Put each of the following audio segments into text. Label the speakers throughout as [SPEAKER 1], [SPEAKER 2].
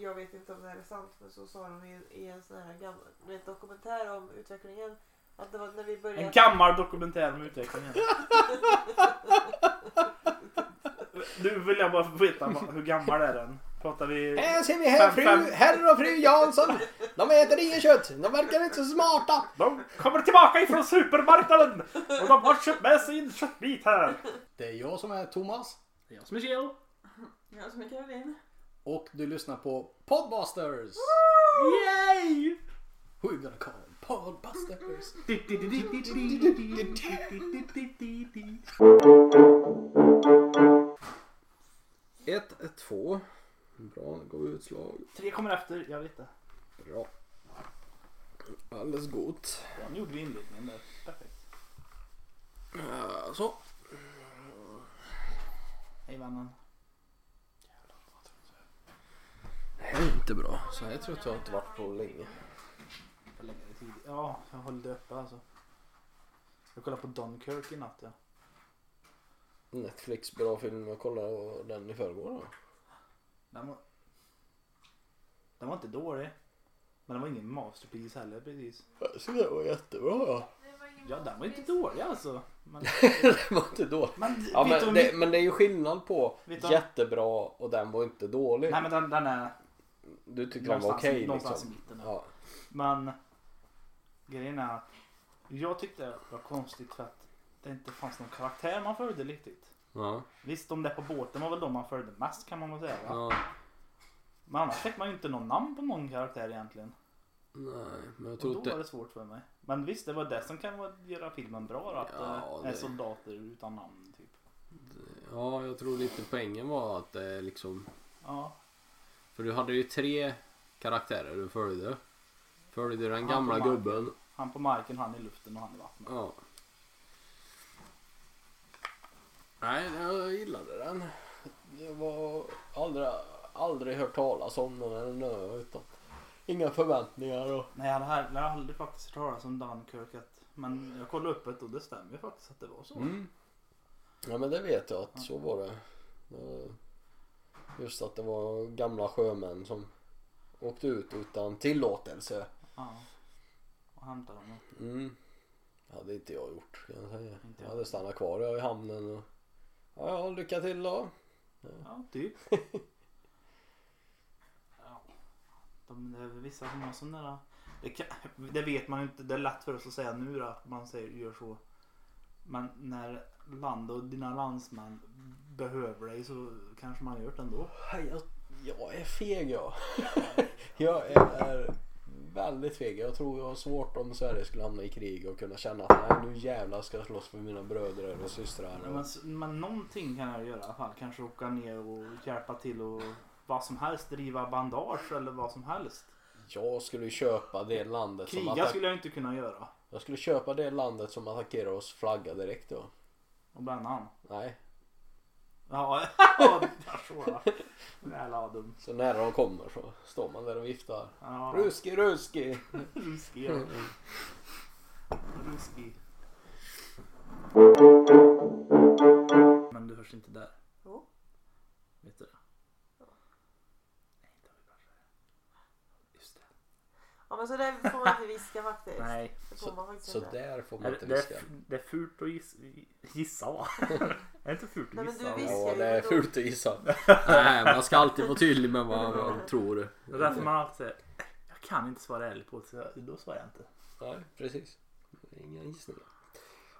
[SPEAKER 1] jag vet inte om det här är sant men så sa de i, i en sån här gammal du vet, dokumentär om utvecklingen. Att det var när vi började.
[SPEAKER 2] En gammal dokumentär om utvecklingen. Nu vill jag bara veta vad- hur gammal är den? Pratar vi...
[SPEAKER 3] Här Eh, ser vi här
[SPEAKER 2] Fem, fem.
[SPEAKER 3] fru, herr och fru Jansson. De äter inget kött. De verkar inte så smarta.
[SPEAKER 2] De kommer tillbaka ifrån supermarknaden! Och de har köpt med sig en köttbit här.
[SPEAKER 3] Det är jag som är Thomas.
[SPEAKER 2] Det är jag som är Kjell.
[SPEAKER 1] Jag som är Caroline.
[SPEAKER 3] Och du lyssnar på Podbusters.
[SPEAKER 2] Yay!
[SPEAKER 3] Who gonna call them? Podbusters. Ett, ett, två. Bra, gav vi utslag.
[SPEAKER 2] Tre kommer efter, jag vet det.
[SPEAKER 3] Bra. Alldeles gott.
[SPEAKER 2] Ja, nu gjorde vi inledningen där. Perfekt.
[SPEAKER 3] Eh, Så.
[SPEAKER 2] Hej vännen.
[SPEAKER 3] Det här är inte bra. Så här tror jag inte varit på länge.
[SPEAKER 2] Jag får lägga det tidigt. Ja, jag höll det uppe alltså. Jag kollade på Dunkirk i natt ja.
[SPEAKER 3] Netflix bra film. Jag kollade den i förrgår då.
[SPEAKER 2] Den var... Den var inte dålig. Men den var ingen masterpiece heller precis.
[SPEAKER 3] Jag tyckte det var jättebra ja.
[SPEAKER 2] Ja, den var inte dålig alltså. Men,
[SPEAKER 3] det var inte dåligt.
[SPEAKER 2] men,
[SPEAKER 3] Ja,
[SPEAKER 2] vet du
[SPEAKER 3] men,
[SPEAKER 2] hur
[SPEAKER 3] det,
[SPEAKER 2] mycket-
[SPEAKER 3] men det är ju skillnad på
[SPEAKER 2] Vet du om-
[SPEAKER 3] jättebra och den var inte dålig.
[SPEAKER 2] Nej men den, den är
[SPEAKER 3] du tyckte den var
[SPEAKER 2] någonstans,
[SPEAKER 3] okej
[SPEAKER 2] någonstans
[SPEAKER 3] liksom.
[SPEAKER 2] i mitten.
[SPEAKER 3] Ja.
[SPEAKER 2] Men grejen är att jag tyckte det var konstigt för att det inte fanns någon karaktär man följde riktigt.
[SPEAKER 3] Ja.
[SPEAKER 2] Visst, de där på båten var väl de man följde mest kan man väl säga. Va?
[SPEAKER 3] ja.
[SPEAKER 2] Men annars fick man ju inte någon namn på någon karaktär egentligen.
[SPEAKER 3] Nej, men jag
[SPEAKER 2] Och då
[SPEAKER 3] tror
[SPEAKER 2] var
[SPEAKER 3] inte...
[SPEAKER 2] det svårt för mig. Men visst, det var det som kan vara- göra filmen bra då, att
[SPEAKER 3] Ja,
[SPEAKER 2] det är
[SPEAKER 3] det-
[SPEAKER 2] soldater utan namn. Typ.
[SPEAKER 3] Ja, jag tror lite poängen var att det liksom...
[SPEAKER 2] Ja,
[SPEAKER 3] För du hade ju tre karaktärer du följde. Följde den
[SPEAKER 2] Han
[SPEAKER 3] gamla
[SPEAKER 2] på marken.
[SPEAKER 3] gubben.
[SPEAKER 2] han på marken, han i luften och han i vattnet.
[SPEAKER 3] Ja. Nej, jag gillade den. Jag var aldrig, aldrig hört talas om den eller något. Utan inga förväntningar och...
[SPEAKER 2] Nej, jag hade, här- jag hade aldrig faktiskt hört talas om Dunkirk. att- Men jag kollade upp det och det stämmer ju faktiskt att det var så.
[SPEAKER 3] Mm. Ja men det vet jag att så var det. Eh, Just att det var gamla sjömän som åkte ut utan tillåtelse.
[SPEAKER 2] Ja. Och hämtade honom.
[SPEAKER 3] Mm. hade inte jag gjort kan jag säga.
[SPEAKER 2] Inte
[SPEAKER 3] Jag
[SPEAKER 2] jag.
[SPEAKER 3] hade stannat kvar där i hamnen och ja, ja lycka till då.
[SPEAKER 2] Ja, typ. ja. De, det är väl vissa som har sådana där. Det, kan, det vet man ju inte. Det är lätt för oss att säga nu då, att man säger, gör så. Men när land och dina landsmän behöver dig så kanske man gör det ändå.
[SPEAKER 3] Nej, Jag, jag är feg jag. jag är väldigt feg. Jag tror jag har svårt om Sverige skulle hamna i krig och kunna känna att nej, nu jävlar ska jag slåss för mina bröder och systrar.
[SPEAKER 2] Men, men någonting kan jag göra i alla fall. Kanske åka ner och hjälpa till och vad som helst. Driva bandage eller vad som helst.
[SPEAKER 3] Jag skulle köpa det landet som
[SPEAKER 2] Kriga
[SPEAKER 3] attack-
[SPEAKER 2] skulle jag inte kunna göra.
[SPEAKER 3] Jag skulle köpa det landet som attackerar oss flagga direkt då.
[SPEAKER 2] Och bränna han.
[SPEAKER 3] Nej,
[SPEAKER 2] Ja, ja, så ja. Jävla dum.
[SPEAKER 3] så nära de kommer så står man där och viftar.
[SPEAKER 2] Ja,
[SPEAKER 3] Ruski, ruski!
[SPEAKER 2] ruskig. ja. Ruskig. Men du hörs inte där.
[SPEAKER 1] Jo.
[SPEAKER 2] Vet du det? Nej, inte har vi kanske. Just det.
[SPEAKER 1] Ja men så där får man inte viska faktiskt.
[SPEAKER 2] Nej.
[SPEAKER 1] Det får man
[SPEAKER 3] Så,
[SPEAKER 1] faktiskt
[SPEAKER 3] så
[SPEAKER 1] inte.
[SPEAKER 3] där får man
[SPEAKER 2] Det,
[SPEAKER 3] inte
[SPEAKER 2] det, är,
[SPEAKER 3] viska.
[SPEAKER 2] f- det är fult att gissa, gissa va? är det inte fult
[SPEAKER 1] Nej,
[SPEAKER 2] att
[SPEAKER 1] men
[SPEAKER 2] gissa?
[SPEAKER 1] du
[SPEAKER 2] va?
[SPEAKER 1] visste-
[SPEAKER 3] Ja, det är fult att gissa. Nej, man ska alltid vara tydlig med vad man tror.
[SPEAKER 2] Det är därför man alltid säger jag kan inte svara ärligt på det, så jag- då svarar jag inte.
[SPEAKER 3] Nej, precis. Inga gissningar.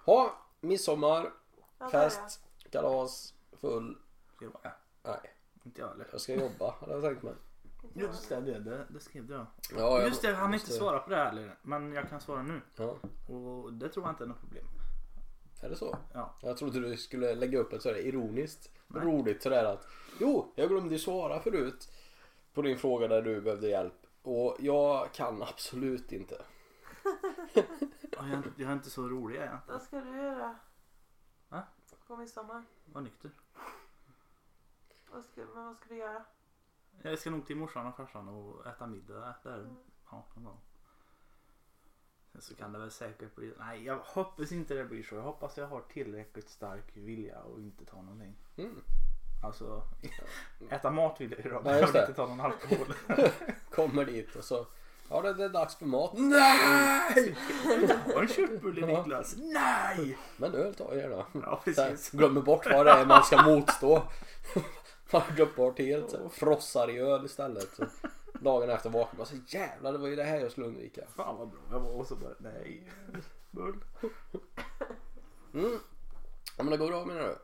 [SPEAKER 3] Ha, midsommar,
[SPEAKER 1] Ja, där är
[SPEAKER 3] fest, kalas, full.
[SPEAKER 2] Ska det vara?
[SPEAKER 3] Nej,
[SPEAKER 2] Inte jag heller.
[SPEAKER 3] jag ska jobba hade jag tänkt mig.
[SPEAKER 1] jag. Inte
[SPEAKER 2] Just det, det, det, det skrev jag.
[SPEAKER 3] Ja, jag
[SPEAKER 2] Just det, han har inte
[SPEAKER 3] måste-
[SPEAKER 2] svarat på det här heller. Men jag kan svara nu.
[SPEAKER 3] Ja,
[SPEAKER 2] Och det tror jag inte är något problem.
[SPEAKER 3] är det så?
[SPEAKER 2] Ja.
[SPEAKER 3] Jag trodde du skulle lägga upp ett sådär ironiskt
[SPEAKER 2] Nej.
[SPEAKER 3] roligt sådär att Jo, jag glömde ju svara förut på din fråga där du behövde hjälp och jag kan absolut inte.
[SPEAKER 2] Ja, Jag, jag är inte så rolig jag är.
[SPEAKER 1] jag. Vad ska du göra?
[SPEAKER 2] Va?
[SPEAKER 1] På midsommar?
[SPEAKER 2] Var nykter.
[SPEAKER 1] Vad ska, men vad ska du göra?
[SPEAKER 2] Jag ska nog till morsan och farsan och äta middag där. Ja, någon gång. Sen så kan det väl säkert bli. Nej, jag hoppas inte det blir så. Jag hoppas jag har tillräckligt stark vilja och inte tar någonting.
[SPEAKER 3] Mm.
[SPEAKER 2] Alltså, äta mat vill jag ju då.
[SPEAKER 3] Ja,
[SPEAKER 2] men Jag
[SPEAKER 3] just
[SPEAKER 2] vill
[SPEAKER 3] det.
[SPEAKER 2] inte ta någon alkohol.
[SPEAKER 3] Kommer dit och så. Ja det, det är dags för mat. Nej!
[SPEAKER 2] Har en köttbulle
[SPEAKER 3] Ja.
[SPEAKER 2] Niklas? Nej!
[SPEAKER 3] Men öl tar jag gärna.
[SPEAKER 2] Ja
[SPEAKER 3] Så här,
[SPEAKER 2] precis.
[SPEAKER 3] Glömmer bort vad det är man ska motstå. Man har glömt bort helt. så här, Frossar i öl istället. Så dagen efter vaknar man så jävlar det var ju det här jag skulle undvika.
[SPEAKER 2] Fan vad bra jag var och så bara nej. Bull.
[SPEAKER 3] Mm. Ja men det går bra menar du?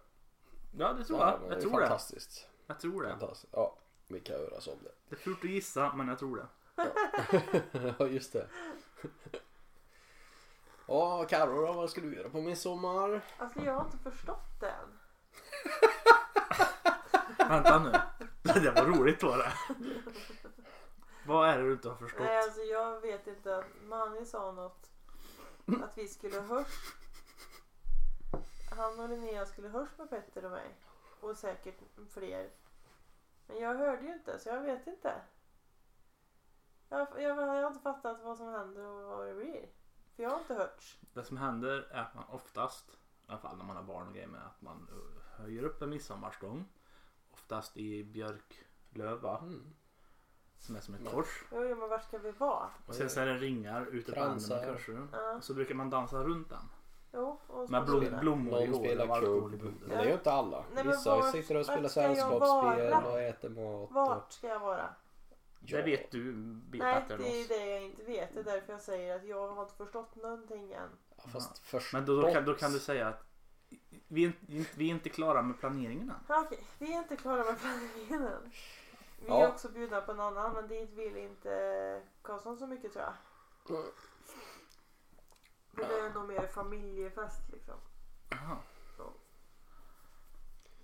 [SPEAKER 2] Ja det tror
[SPEAKER 3] Ja,
[SPEAKER 2] jag.
[SPEAKER 3] men
[SPEAKER 2] Jag
[SPEAKER 3] är
[SPEAKER 2] tror det.
[SPEAKER 3] fantastiskt.
[SPEAKER 2] Jag tror det.
[SPEAKER 3] Fantastiskt. Ja, vi kan höras om det.
[SPEAKER 2] Det är fult att gissa men jag tror det.
[SPEAKER 3] Ja, just det. Ja, Carro då, vad ska du göra på midsommar?
[SPEAKER 1] Alltså jag har inte förstått det än.
[SPEAKER 2] Vänta nu. Det var roligt var det. Vad är det du inte har förstått?
[SPEAKER 1] Nej alltså jag vet inte. att Manny sa något. Att vi skulle hörs. Han och Linnea skulle hörs med Petter och mig. Och säkert fler. Men jag hörde ju inte så jag vet inte. Jag, jag, jag har inte fattat vad som händer och vad det blir. För jag har inte hörts.
[SPEAKER 2] Det som händer är att man oftast, i alla fall när man har barn och grejer med, att man eh, höjer upp en midsommarstång. Oftast i björklöv va?
[SPEAKER 3] Mm.
[SPEAKER 2] Som är som ett
[SPEAKER 3] Mm.
[SPEAKER 2] kors.
[SPEAKER 1] Jo, jo men var ska vi vara?
[SPEAKER 2] Och sen så är det ringar ute på änden
[SPEAKER 3] Kransar.
[SPEAKER 2] med korsrum.
[SPEAKER 1] Ja,
[SPEAKER 2] Så brukar man dansa runt den.
[SPEAKER 1] jo. Och
[SPEAKER 2] Med blom,
[SPEAKER 1] skolorna.
[SPEAKER 2] blommor i
[SPEAKER 3] Någon
[SPEAKER 2] håret
[SPEAKER 3] spelar
[SPEAKER 2] och alkohol i
[SPEAKER 3] kubb.
[SPEAKER 2] bunden.
[SPEAKER 3] Men det är ju inte alla.
[SPEAKER 1] Nej, men
[SPEAKER 3] Vissa
[SPEAKER 1] var-
[SPEAKER 3] sitter och spelar
[SPEAKER 1] vart ska jag
[SPEAKER 3] sällskapsspel
[SPEAKER 1] vara?
[SPEAKER 3] och äter mat. Och...
[SPEAKER 1] Vart ska jag vara?
[SPEAKER 3] Ja.
[SPEAKER 2] Det vet du
[SPEAKER 1] Nej,
[SPEAKER 2] bättre
[SPEAKER 1] det är ju
[SPEAKER 2] än oss.
[SPEAKER 1] det jag inte vet. Det är därför jag säger att jag har inte förstått någonting än.
[SPEAKER 3] Ja, Fast förstått.
[SPEAKER 2] Men då, då, kan, då kan du säga att vi är, inte, vi är inte klara med planeringen än.
[SPEAKER 1] Ja, Okej, vi är inte klara med planeringen än. Vi
[SPEAKER 3] Ja.
[SPEAKER 1] är också bjudna på en annan, men dit vill inte Karlsson så mycket tror jag. För det är nog mer familjefest liksom.
[SPEAKER 2] Jaha.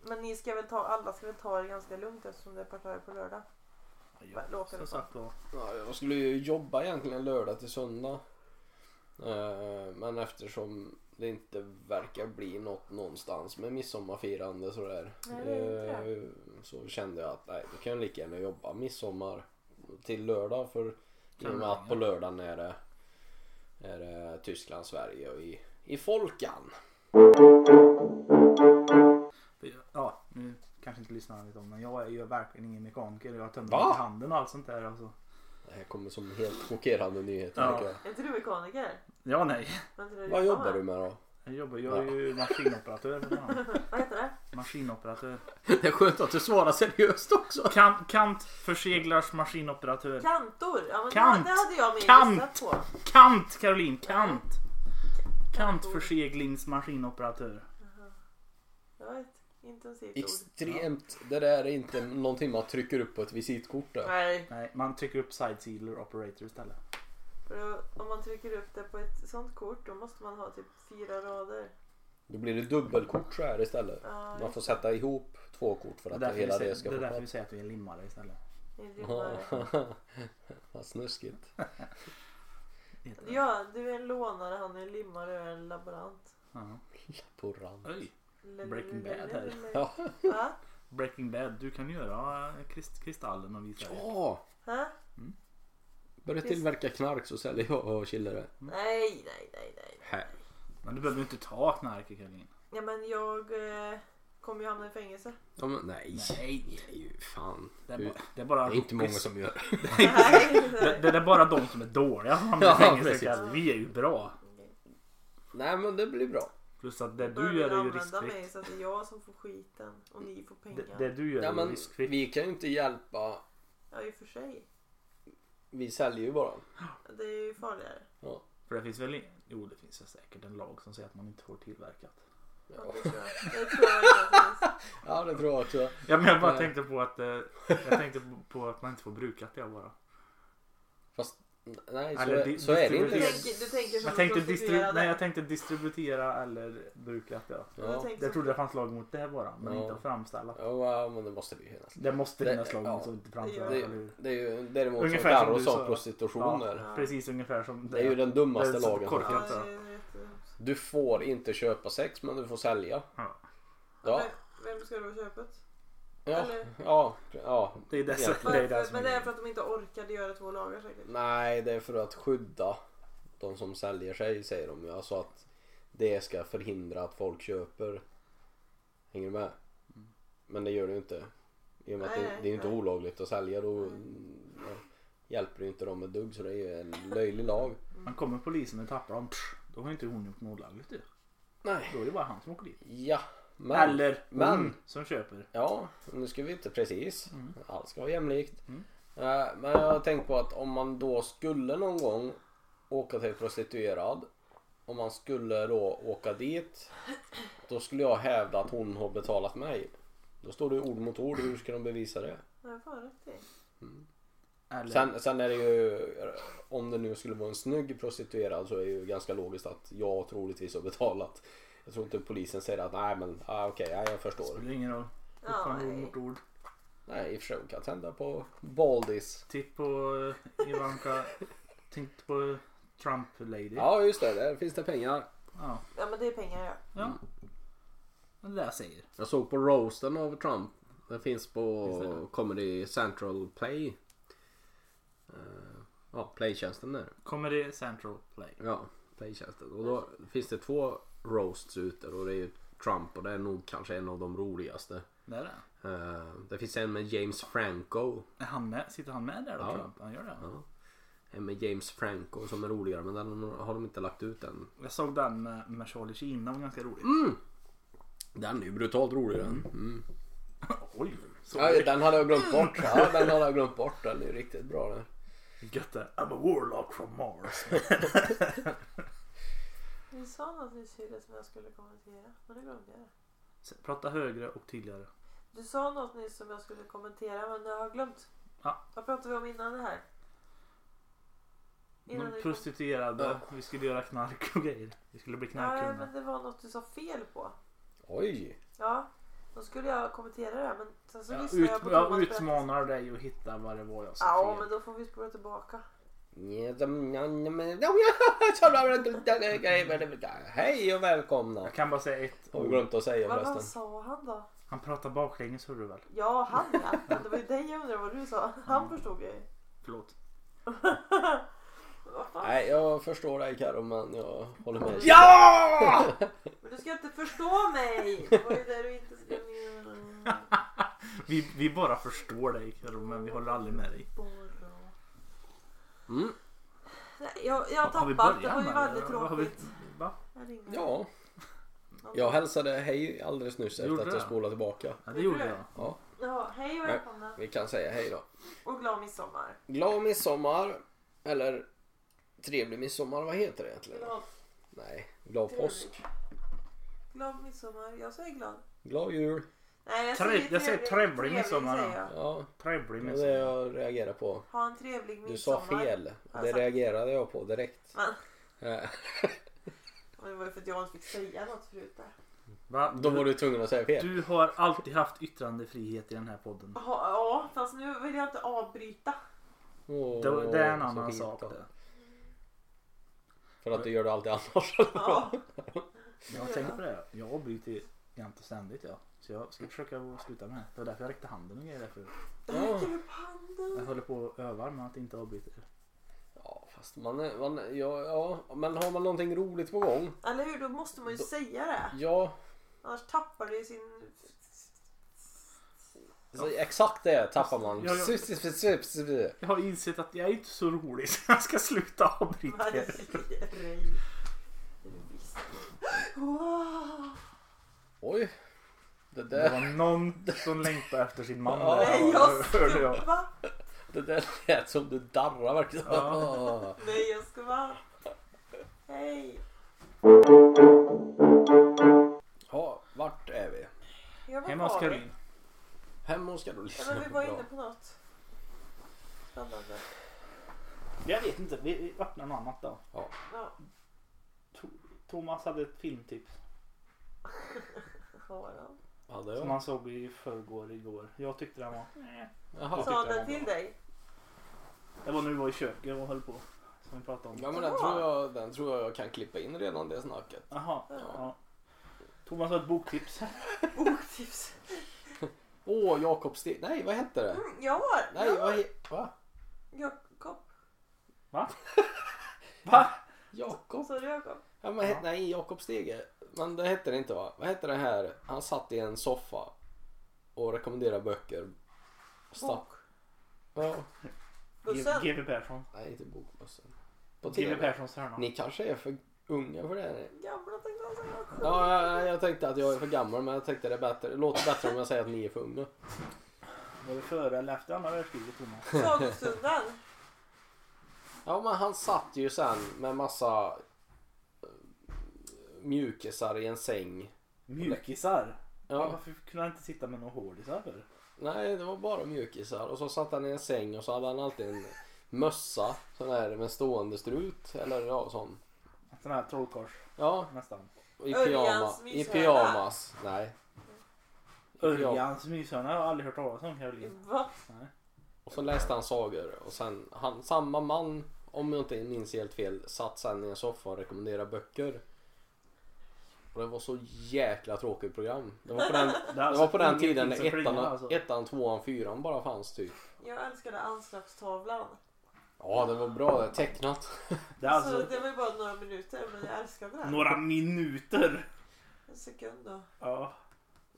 [SPEAKER 1] Men ni ska väl ta, alla ska väl ta det ganska lugnt eftersom det är partaj på lördag.
[SPEAKER 2] Ja,
[SPEAKER 1] Låter
[SPEAKER 2] som
[SPEAKER 1] det
[SPEAKER 2] sagt var.
[SPEAKER 3] Ja, jag skulle ju jobba egentligen lördag till söndag. Eh, Men eftersom det inte verkar bli något någonstans med midsommarfirande sådär.
[SPEAKER 1] Nej, det är inte det.
[SPEAKER 3] eh, Så kände jag att nej, då kan jag lika gärna jobba midsommar till lördag. För i och med att på lördagen är det, är det Tyskland, Sverige och i, i Folkan.
[SPEAKER 2] Ja, nu kanske inte lyssnar lite om men jag är ju verkligen ingen mekaniker. Jag har tömt
[SPEAKER 3] Va?
[SPEAKER 2] ut handen och allt sånt där. Alltså.
[SPEAKER 3] Det här kommer som helt chockerande nyheter.
[SPEAKER 2] Ja.
[SPEAKER 3] tycker jag.
[SPEAKER 1] Är inte du mekaniker?
[SPEAKER 2] Ja, nej.
[SPEAKER 1] Vad inte du
[SPEAKER 3] Vad jobbar du med då?
[SPEAKER 2] Jag jobbar, jag är ju maskinoperatör för fan.
[SPEAKER 1] Vad heter det?
[SPEAKER 2] Maskinoperatör.
[SPEAKER 3] Det är skönt att du svarar seriöst också.
[SPEAKER 2] Kant, kant förseglars maskinoperatör.
[SPEAKER 1] Kantor! Ja, men
[SPEAKER 2] Kant.
[SPEAKER 1] Det hade jag med
[SPEAKER 2] Kant.
[SPEAKER 1] gissat på.
[SPEAKER 2] Kant Caroline, kant! Kant förseglings maskinoperatör.
[SPEAKER 1] Det var ett intensivt ord.
[SPEAKER 3] Extremt. Det där är inte någonting man trycker upp på ett visitkort. Där.
[SPEAKER 1] Nej,
[SPEAKER 2] Nej, man trycker upp side sealer operator istället.
[SPEAKER 1] för då, om man trycker upp det på ett sånt kort då måste man ha typ fyra rader.
[SPEAKER 3] Då blir det dubbelkort så här istället.
[SPEAKER 1] Ja,
[SPEAKER 3] Man får sätta ihop två kort för
[SPEAKER 2] Det är
[SPEAKER 3] att
[SPEAKER 2] därför, vi
[SPEAKER 3] hela
[SPEAKER 2] säger,
[SPEAKER 3] det
[SPEAKER 2] det
[SPEAKER 3] ska
[SPEAKER 2] är
[SPEAKER 3] få
[SPEAKER 2] därför vi
[SPEAKER 3] plats.
[SPEAKER 2] säger att vi är limmare istället.
[SPEAKER 1] det är
[SPEAKER 3] Ja.
[SPEAKER 1] rimmare.
[SPEAKER 3] Vad snuskigt.
[SPEAKER 2] Heter det.
[SPEAKER 1] Ja, du är en lånare, han är en limmare och jag är en laborant.
[SPEAKER 2] Ja.
[SPEAKER 3] Porran.
[SPEAKER 2] Oj.
[SPEAKER 1] Le-
[SPEAKER 2] Breaking
[SPEAKER 1] le-
[SPEAKER 2] Bad
[SPEAKER 1] le-
[SPEAKER 2] här.
[SPEAKER 1] le-
[SPEAKER 3] Ja.
[SPEAKER 1] Va?
[SPEAKER 2] Breaking Bad, du kan göra eh, krist- kristallen om vi säger.
[SPEAKER 3] ja.
[SPEAKER 1] Hä?
[SPEAKER 3] Börja tillverka knark så säljer jag och chillar det.
[SPEAKER 2] Mm.
[SPEAKER 1] Nej, nej, nej, nej.
[SPEAKER 3] Här.
[SPEAKER 2] Men du behöver ju inte ta knark Caroline.
[SPEAKER 1] Ja, men jag eh, kommer ju hamna i fängelse.
[SPEAKER 3] Ja, men nej.
[SPEAKER 2] Nej.
[SPEAKER 3] Det är ju fan.
[SPEAKER 2] Det är,
[SPEAKER 3] Du-
[SPEAKER 2] bara, det är bara
[SPEAKER 3] Det är inte många
[SPEAKER 2] rookies.
[SPEAKER 3] som gör.
[SPEAKER 1] Nej,
[SPEAKER 2] det,
[SPEAKER 1] nej.
[SPEAKER 2] det är bara de som är dåliga som hamnar
[SPEAKER 3] Ja,
[SPEAKER 2] i fängelse.
[SPEAKER 3] precis.
[SPEAKER 2] Caroline. Vi är ju bra.
[SPEAKER 3] Nej men det blir bra.
[SPEAKER 2] Plus att det
[SPEAKER 1] Börjar
[SPEAKER 2] du gör är ju
[SPEAKER 1] använda mig
[SPEAKER 2] riskfritt.
[SPEAKER 1] så att det är jag som får skiten och ni får
[SPEAKER 2] Det,
[SPEAKER 1] pengar.
[SPEAKER 2] det du gör
[SPEAKER 3] Ja,
[SPEAKER 2] är ju
[SPEAKER 3] men
[SPEAKER 2] riskfritt.
[SPEAKER 3] vi kan ju inte hjälpa.
[SPEAKER 1] Ja, i och för sig.
[SPEAKER 3] Vi säljer ju bara.
[SPEAKER 1] Det är ju farligare.
[SPEAKER 3] Ja.
[SPEAKER 2] För det finns väl i- Jo det finns ju säkert en lag som säger att man inte får tillverkat.
[SPEAKER 1] Ja, det tror jag. Det tror jag verkligen.
[SPEAKER 3] Ja det tror jag också.
[SPEAKER 2] Ja men jag bara
[SPEAKER 3] Nej.
[SPEAKER 2] tänkte på att eh, Jag tänkte på- på att man inte får brukat det bara.
[SPEAKER 3] Fast nej så,
[SPEAKER 2] Eller
[SPEAKER 3] är,
[SPEAKER 2] di-
[SPEAKER 3] så är det
[SPEAKER 1] Du
[SPEAKER 2] distribuera.
[SPEAKER 3] inte.
[SPEAKER 1] tänker, du tänker som
[SPEAKER 2] Jag tänkte,
[SPEAKER 1] en
[SPEAKER 2] distri-
[SPEAKER 1] prostituerad.
[SPEAKER 2] Nej, jag tänkte distributera eller brukat ja.
[SPEAKER 1] Jag
[SPEAKER 3] Ja.
[SPEAKER 1] tänker
[SPEAKER 2] Jag
[SPEAKER 1] som-
[SPEAKER 2] trodde det fanns lag mot det bara men
[SPEAKER 3] Ja.
[SPEAKER 2] inte att framställa.
[SPEAKER 3] Ja men det måste vi ju finnas.
[SPEAKER 2] Det måste
[SPEAKER 3] Det-
[SPEAKER 2] finnas lag
[SPEAKER 3] ja.
[SPEAKER 2] mot som inte framställer.
[SPEAKER 1] Det-
[SPEAKER 2] eller hur?
[SPEAKER 3] Det är ju däremot
[SPEAKER 2] Ungefär
[SPEAKER 3] som
[SPEAKER 2] som
[SPEAKER 3] Carro
[SPEAKER 2] du
[SPEAKER 3] sa
[SPEAKER 2] sa.
[SPEAKER 3] prostitution
[SPEAKER 2] Ja.
[SPEAKER 3] där.
[SPEAKER 1] Ja.
[SPEAKER 2] Precis ungefär som
[SPEAKER 3] Det är ju den dummaste
[SPEAKER 2] Det är så
[SPEAKER 3] lagen.
[SPEAKER 2] korkat.
[SPEAKER 1] Ja, det
[SPEAKER 2] jag
[SPEAKER 1] är
[SPEAKER 2] tror.
[SPEAKER 1] eh, jättedumt.
[SPEAKER 3] Du får inte köpa sex men du får sälja.
[SPEAKER 2] Ja.
[SPEAKER 3] Ja,
[SPEAKER 1] Vem- Vem ska då köpa det?
[SPEAKER 3] ja,
[SPEAKER 1] eller-
[SPEAKER 3] ja, ja.
[SPEAKER 2] Det är dessa-
[SPEAKER 3] Egentligen.
[SPEAKER 2] Det är det
[SPEAKER 1] Varför?
[SPEAKER 2] som är
[SPEAKER 1] Men det är
[SPEAKER 2] grejen.
[SPEAKER 1] för att de inte orkade göra två lagar säkert.
[SPEAKER 3] Nej, det är för att skydda de som säljer sig säger de ju. Alltså att det ska förhindra att folk köper. Hänger du med? Men det gör du ju inte. I och med att
[SPEAKER 1] Nej,
[SPEAKER 3] det,
[SPEAKER 1] nej,
[SPEAKER 3] det är inte
[SPEAKER 1] nej. Mm.
[SPEAKER 3] olagligt att sälja då
[SPEAKER 1] Nej.
[SPEAKER 3] ja, hjälper du inte dem ett dugg så det är ju en löjlig lag.
[SPEAKER 2] Men kommer polisen och tappar dem, pff, då har inte hon gjort något olagligt ju.
[SPEAKER 3] Nej.
[SPEAKER 2] Då är det bara han som åker dit.
[SPEAKER 3] Ja. Men.
[SPEAKER 2] Eller
[SPEAKER 3] men.
[SPEAKER 2] hon som köper.
[SPEAKER 3] Ja, nu ska vi inte precis. Allt ska vara jämlikt.
[SPEAKER 2] Mm.
[SPEAKER 3] Eh, Men jag har tänkt på att om man då skulle någon gång åka till prostituerad. Om man skulle då åka dit. Då skulle jag hävda att hon har betalat mig. Då står det ju ord mot ord. Hur ska de bevisa det?
[SPEAKER 1] Det var fan rätt i.
[SPEAKER 2] Eller,
[SPEAKER 3] Sen, sen är det ju, om det nu skulle vara en snygg prostituerad så är det ju ganska logiskt att jag troligtvis har betalat. Jag tror inte polisen säger att nej men ah, okej, ja, jag
[SPEAKER 2] det
[SPEAKER 3] förstår.
[SPEAKER 2] spelar ingen roll. Fortfarande ord
[SPEAKER 1] nej.
[SPEAKER 2] mot ord.
[SPEAKER 3] Nej i och för sig hon kan tända på Baldis.
[SPEAKER 2] Titt på eh, Ivanka. Tänk på Trump lady. Ja.
[SPEAKER 3] Ja just det, där finns det pengar.
[SPEAKER 2] ja.
[SPEAKER 1] Ja men det är pengar ja.
[SPEAKER 2] Det är det jag säger.
[SPEAKER 3] Jag såg på roasten av Trump. Den finns på
[SPEAKER 2] Finns det?
[SPEAKER 3] Comedy Central Play. Eh, ja, Playtjänsten där.
[SPEAKER 2] Kommer det central play.
[SPEAKER 3] Ja, Playtjänsten. Och då finns det två roasts ute och det är ju Trump och det är nog kanske en av de roligaste.
[SPEAKER 2] Det är det.
[SPEAKER 3] Eh, det finns en med James Franco.
[SPEAKER 2] Är han med? Sitter han med där då
[SPEAKER 3] Ja.
[SPEAKER 2] Trump? Han gör det?
[SPEAKER 3] Ja. En med James Franco som är roligare men den har de inte lagt ut än. Mm!
[SPEAKER 2] Jag såg den med, med Charlie Sheen. Den var ganska rolig.
[SPEAKER 3] Den är ju brutalt rolig den. Mm.
[SPEAKER 2] Oj! Så
[SPEAKER 3] Ja, den hade jag glömt bort. Ja, den hade jag glömt bort. Den är ju riktigt bra den.
[SPEAKER 2] gött det. I'm a warlock from Mars.
[SPEAKER 1] Vi sa något nyss Hille som jag skulle kommentera. Men det glömde jag.
[SPEAKER 2] Prata högre och tydligare.
[SPEAKER 1] Du sa något nyss som jag skulle kommentera men jag har glömt.
[SPEAKER 2] Ja.
[SPEAKER 1] Vad pratade vi om innan det här? Innan
[SPEAKER 2] De
[SPEAKER 1] vi-
[SPEAKER 2] prostituerade.
[SPEAKER 3] Ja.
[SPEAKER 2] Vi skulle göra knark och grejer. Vi skulle bli
[SPEAKER 1] Nej
[SPEAKER 2] knarkkungar.
[SPEAKER 1] men det var något du sa fel på.
[SPEAKER 3] Oj!
[SPEAKER 1] Ja. Då skulle jag kommentera det här men sen så
[SPEAKER 2] Jag,
[SPEAKER 1] lyssnade
[SPEAKER 2] ut,
[SPEAKER 1] jag på
[SPEAKER 2] jag
[SPEAKER 1] Thomas berättelse.
[SPEAKER 2] utmanar dig att hitta vad det var jag sa
[SPEAKER 1] Ja
[SPEAKER 2] fel.
[SPEAKER 1] men då får vi spola tillbaka.
[SPEAKER 3] Hej och välkomna!
[SPEAKER 2] Jag kan bara säga ett.
[SPEAKER 3] Har vi glömt att säga
[SPEAKER 1] Vad, vad
[SPEAKER 3] förresten.
[SPEAKER 1] sa han då?
[SPEAKER 2] Han pratar baklänges hör du väl?
[SPEAKER 1] Ja han ja. Det var ju dig jag undrade vad du sa. Han
[SPEAKER 2] Mm.
[SPEAKER 1] förstod jag ju.
[SPEAKER 2] Förlåt.
[SPEAKER 1] Vad fan?
[SPEAKER 3] Nej, jag förstår dig Karo men jag håller med.
[SPEAKER 2] Ja!
[SPEAKER 1] Men du ska inte förstå mig! Det var ju det du inte skulle göra.
[SPEAKER 2] vi, vi bara förstår dig Karo, men vi håller aldrig med dig.
[SPEAKER 1] Borra.
[SPEAKER 3] Mm.
[SPEAKER 1] Nej, jag, jag har
[SPEAKER 2] Har vi
[SPEAKER 1] tappat.
[SPEAKER 2] börjat
[SPEAKER 1] Det var ju
[SPEAKER 2] med
[SPEAKER 1] väldigt
[SPEAKER 2] det? Har vi-
[SPEAKER 1] tråkigt.
[SPEAKER 2] Va?
[SPEAKER 1] Jag ringer.
[SPEAKER 3] Ja, jag hälsade hej alldeles nyss efter
[SPEAKER 2] Gjorde
[SPEAKER 3] att
[SPEAKER 2] det?
[SPEAKER 3] jag spolade tillbaka.
[SPEAKER 2] Ja, det gjorde jag.
[SPEAKER 1] Ja, hej och
[SPEAKER 3] Nej.
[SPEAKER 1] välkomna.
[SPEAKER 3] Vi kan säga hej då.
[SPEAKER 1] Och glad midsommar.
[SPEAKER 3] Glad midsommar, eller trevlig midsommar, vad heter det egentligen?
[SPEAKER 1] Glad,
[SPEAKER 3] Nej, glad påsk.
[SPEAKER 1] glad midsommar. Jag säger glad.
[SPEAKER 3] Glad jul.
[SPEAKER 1] Nej, jag
[SPEAKER 2] Trev-
[SPEAKER 1] säger
[SPEAKER 2] jag säger trevlig midsommar
[SPEAKER 1] säger
[SPEAKER 2] då.
[SPEAKER 1] jag.
[SPEAKER 3] Ja,
[SPEAKER 2] Trevlig
[SPEAKER 3] det är det
[SPEAKER 2] midsommar.
[SPEAKER 3] jag reagerar på.
[SPEAKER 1] Ha en trevlig midsommar.
[SPEAKER 3] Du sa fel.
[SPEAKER 1] Har jag
[SPEAKER 3] Det
[SPEAKER 1] sagt.
[SPEAKER 3] reagerade jag på direkt.
[SPEAKER 1] Men,
[SPEAKER 3] Eh,
[SPEAKER 1] men det var ju för att jag inte fick säga något förut där.
[SPEAKER 2] Va?
[SPEAKER 3] Då var du tvungen att säga fel.
[SPEAKER 2] Du har alltid haft yttrandefrihet i den här podden.
[SPEAKER 1] Ja, ja, fast nu vill jag inte avbryta.
[SPEAKER 3] Åh,
[SPEAKER 2] Det, det är en
[SPEAKER 3] så
[SPEAKER 2] annan
[SPEAKER 3] fint
[SPEAKER 2] sak
[SPEAKER 3] då.
[SPEAKER 2] det.
[SPEAKER 3] För att du gör det alltid annars.
[SPEAKER 1] Ja.
[SPEAKER 2] Jag har tänkt på det. Jag avbryter jämt och ständigt ja. Så jag ska försöka att sluta med det. Det var därför jag räckte handen och grejer. Därför.
[SPEAKER 1] Där räcker upp handen.
[SPEAKER 2] Jag håller på och övar med att inte avbryta.
[SPEAKER 3] Ja, fast man, är, man är- ja, ja, men har man någonting roligt på gång?
[SPEAKER 1] Eller hur? Då måste man ju
[SPEAKER 3] Då-
[SPEAKER 1] säga det.
[SPEAKER 3] Ja,
[SPEAKER 1] Annars tappar det ju sin...
[SPEAKER 3] så exakt det tappar man.
[SPEAKER 2] Ja, ja.
[SPEAKER 3] Sup, sup, sup, sup, sup.
[SPEAKER 2] Jag har insett att jag är inte så rolig så jag ska sluta avbryta.
[SPEAKER 1] Vad säger du? Wow.
[SPEAKER 3] Oj, det
[SPEAKER 2] Det
[SPEAKER 3] där,
[SPEAKER 2] var någon som längtade efter sin man.
[SPEAKER 3] Ja.
[SPEAKER 2] där,
[SPEAKER 1] Nej, jag
[SPEAKER 2] hörde jag.
[SPEAKER 1] skvallrar.
[SPEAKER 3] det där lät som du darrar verkligen.
[SPEAKER 2] Ja.
[SPEAKER 1] Nej, jag ska vara... Hej!
[SPEAKER 3] Ja, vart är vi?
[SPEAKER 1] Jag var
[SPEAKER 2] Hemma hos
[SPEAKER 1] var vi?
[SPEAKER 2] Karin.
[SPEAKER 3] Hemma hos Karolina.
[SPEAKER 1] Ja, men vi var inne
[SPEAKER 3] Bra.
[SPEAKER 1] på något. Spännande.
[SPEAKER 2] Jag vet inte, vi, vi öppnar något annat då.
[SPEAKER 1] Ja,
[SPEAKER 2] Thomas hade ett typ, filmtips
[SPEAKER 1] har han.
[SPEAKER 3] Hade
[SPEAKER 2] som
[SPEAKER 3] jag?
[SPEAKER 2] han såg i förrgår, igår. Jag tyckte den var...
[SPEAKER 1] Sa
[SPEAKER 3] Jaha.
[SPEAKER 1] han
[SPEAKER 2] tyckte jag
[SPEAKER 1] den
[SPEAKER 2] var
[SPEAKER 1] till dig?
[SPEAKER 2] Det var nu vi var i köket och höll på. Som vi pratade om.
[SPEAKER 3] Ja men den tror, jag, den tror jag jag kan klippa in redan det snacket.
[SPEAKER 2] Jaha. Ja. Thomas har ett boktips.
[SPEAKER 1] Boktips.
[SPEAKER 3] Åh, Jakob Sten... Nej, vad hette det?
[SPEAKER 1] Mm, jag har!
[SPEAKER 3] Nej, vad he- Va?
[SPEAKER 1] Jakob.
[SPEAKER 2] Va?
[SPEAKER 3] Jakob?
[SPEAKER 1] Sa du Jakob?
[SPEAKER 3] Ja, men,
[SPEAKER 2] Ja.
[SPEAKER 3] he- Nej, Jakob Stege. Men det hette det inte va? Vad hette det här? Han satt i en soffa och rekommendera böcker. Stapp.
[SPEAKER 1] Bok.
[SPEAKER 3] Ja.
[SPEAKER 1] Bussen.
[SPEAKER 2] GW Persson.
[SPEAKER 3] Nej, inte bokmössan. På
[SPEAKER 2] GW
[SPEAKER 3] TV.
[SPEAKER 2] Perssons hörna.
[SPEAKER 3] Ni kanske är för unga för det. här.
[SPEAKER 1] Jävlar tänkte jag säga också.
[SPEAKER 3] Ja, jag, jag tänkte att jag är för gammal men jag tänkte det, är bättre. det låter bättre om jag säger att ni är för unga.
[SPEAKER 2] Var det före eller efter andra världskriget Thomas?
[SPEAKER 1] Sagostunden.
[SPEAKER 3] Ja men han satt ju sen med massa eh, mjukisar i en säng.
[SPEAKER 2] Mjukisar? Ja.
[SPEAKER 3] Ja,
[SPEAKER 2] Varför kunde han inte sitta med några hårdisar för?
[SPEAKER 3] nej det var bara mjukisar och så satt han i en säng och så hade han alltid en mössa sån här med stående strut eller ja sån.
[SPEAKER 2] Sån här trollkors
[SPEAKER 3] Ja,
[SPEAKER 2] nästan.
[SPEAKER 3] i, pyjama,
[SPEAKER 1] Örjans
[SPEAKER 3] i
[SPEAKER 1] myshörna.
[SPEAKER 3] pyjamas. Nej. I pyjama.
[SPEAKER 2] Örjans myshörna har jag aldrig hört talas om Caroline.
[SPEAKER 1] Va?
[SPEAKER 2] Nej.
[SPEAKER 3] Och så läste han sagor och sen han, samma man om jag inte minns helt fel satt sen i en soffa och rekommenderade böcker. Och det var så jäkla tråkigt program. Det var på den,
[SPEAKER 2] är
[SPEAKER 3] det
[SPEAKER 2] alltså
[SPEAKER 3] var på den
[SPEAKER 2] ingenting
[SPEAKER 3] tiden
[SPEAKER 2] som
[SPEAKER 3] när ettan,
[SPEAKER 2] klingar, alltså.
[SPEAKER 3] ettan, tvåan, fyran bara fanns typ.
[SPEAKER 1] Jag älskade anslagstavlan.
[SPEAKER 3] Ja det var bra det, tecknat.
[SPEAKER 2] Det är alltså
[SPEAKER 1] Så det var ju bara några minuter men jag älskade det.
[SPEAKER 2] några minuter.
[SPEAKER 1] En sekund då.
[SPEAKER 2] Ja.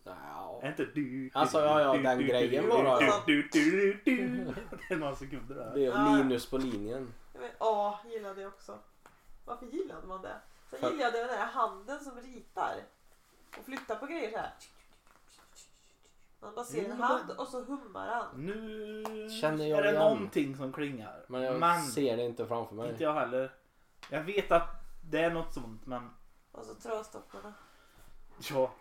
[SPEAKER 3] Ja.
[SPEAKER 2] Är inte du...
[SPEAKER 3] Alltså, ja, ja, den grejen bara,
[SPEAKER 1] ja.
[SPEAKER 2] Du, du, du, du. Det är några sekunder där.
[SPEAKER 3] Det är Linus på linjen.
[SPEAKER 1] Ja, Men, ja, gillade jag också. Varför gillade man det? Sen
[SPEAKER 3] För-
[SPEAKER 1] gillade jag den där handen som ritar. Och flyttar på grejer så här. Man bara ser
[SPEAKER 2] Jo,
[SPEAKER 1] en
[SPEAKER 2] men-
[SPEAKER 1] hand och så hummar han.
[SPEAKER 2] Nu
[SPEAKER 3] Känner jag
[SPEAKER 2] är det
[SPEAKER 3] igen.
[SPEAKER 2] någonting som klingar.
[SPEAKER 3] Men jag
[SPEAKER 2] men
[SPEAKER 3] ser det inte framför mig.
[SPEAKER 2] inte jag heller. Jag vet att det är något sånt men...
[SPEAKER 1] Och så tröstopparna.
[SPEAKER 2] Ja.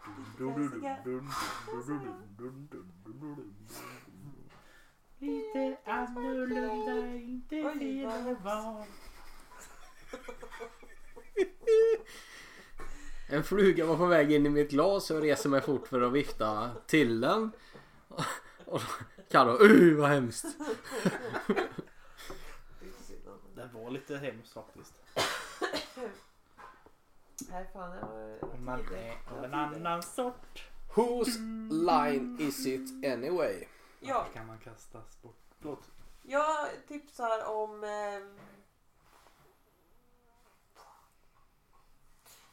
[SPEAKER 2] Lite annorlunda, inte
[SPEAKER 1] Oj, vad
[SPEAKER 2] fel val.
[SPEAKER 3] En fluga var på väg in i mitt glas och jag reser mig fort för att vifta till den. Och Carro, uh vad hemskt.
[SPEAKER 1] Det är inte synd om honom.
[SPEAKER 2] Det var lite hemskt faktiskt.
[SPEAKER 1] Nej fan, det var
[SPEAKER 2] Om man
[SPEAKER 1] tider.
[SPEAKER 2] är
[SPEAKER 1] Det
[SPEAKER 2] av
[SPEAKER 1] var
[SPEAKER 2] en
[SPEAKER 1] tider.
[SPEAKER 2] annan sort.
[SPEAKER 3] Whose line is it anyway?
[SPEAKER 1] Ja,
[SPEAKER 2] Kan man kastas bort. Förlåt.
[SPEAKER 1] jag tipsar om... ehm,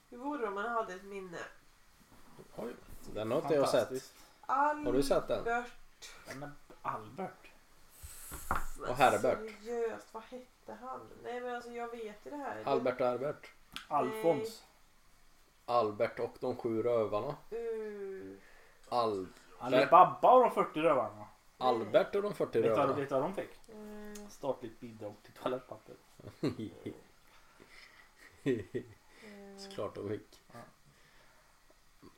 [SPEAKER 1] hur vore det om man hade ett minne?
[SPEAKER 3] Oj, den har inte jag sett.
[SPEAKER 2] Fantastiskt.
[SPEAKER 1] Albert...
[SPEAKER 3] Har du sett den?
[SPEAKER 2] Ja, men Albert.
[SPEAKER 1] Men
[SPEAKER 3] Herbert.
[SPEAKER 1] Alltså, Seriöst, vad hette han? Nej men alltså jag vet ju det här.
[SPEAKER 3] Albert och Albert.
[SPEAKER 2] Alfons.
[SPEAKER 3] Albert och de sju rövarna.
[SPEAKER 1] Uh,
[SPEAKER 3] Al-
[SPEAKER 2] Eh, Alibaba och de 40 rövarna.
[SPEAKER 3] Albert och de 40
[SPEAKER 2] Vet du vad-
[SPEAKER 3] rövarna.
[SPEAKER 2] vet du vad de fick?
[SPEAKER 1] uh,
[SPEAKER 2] Statligt bidrag till toalettpapper.
[SPEAKER 3] Såklart de fick.
[SPEAKER 2] Ja.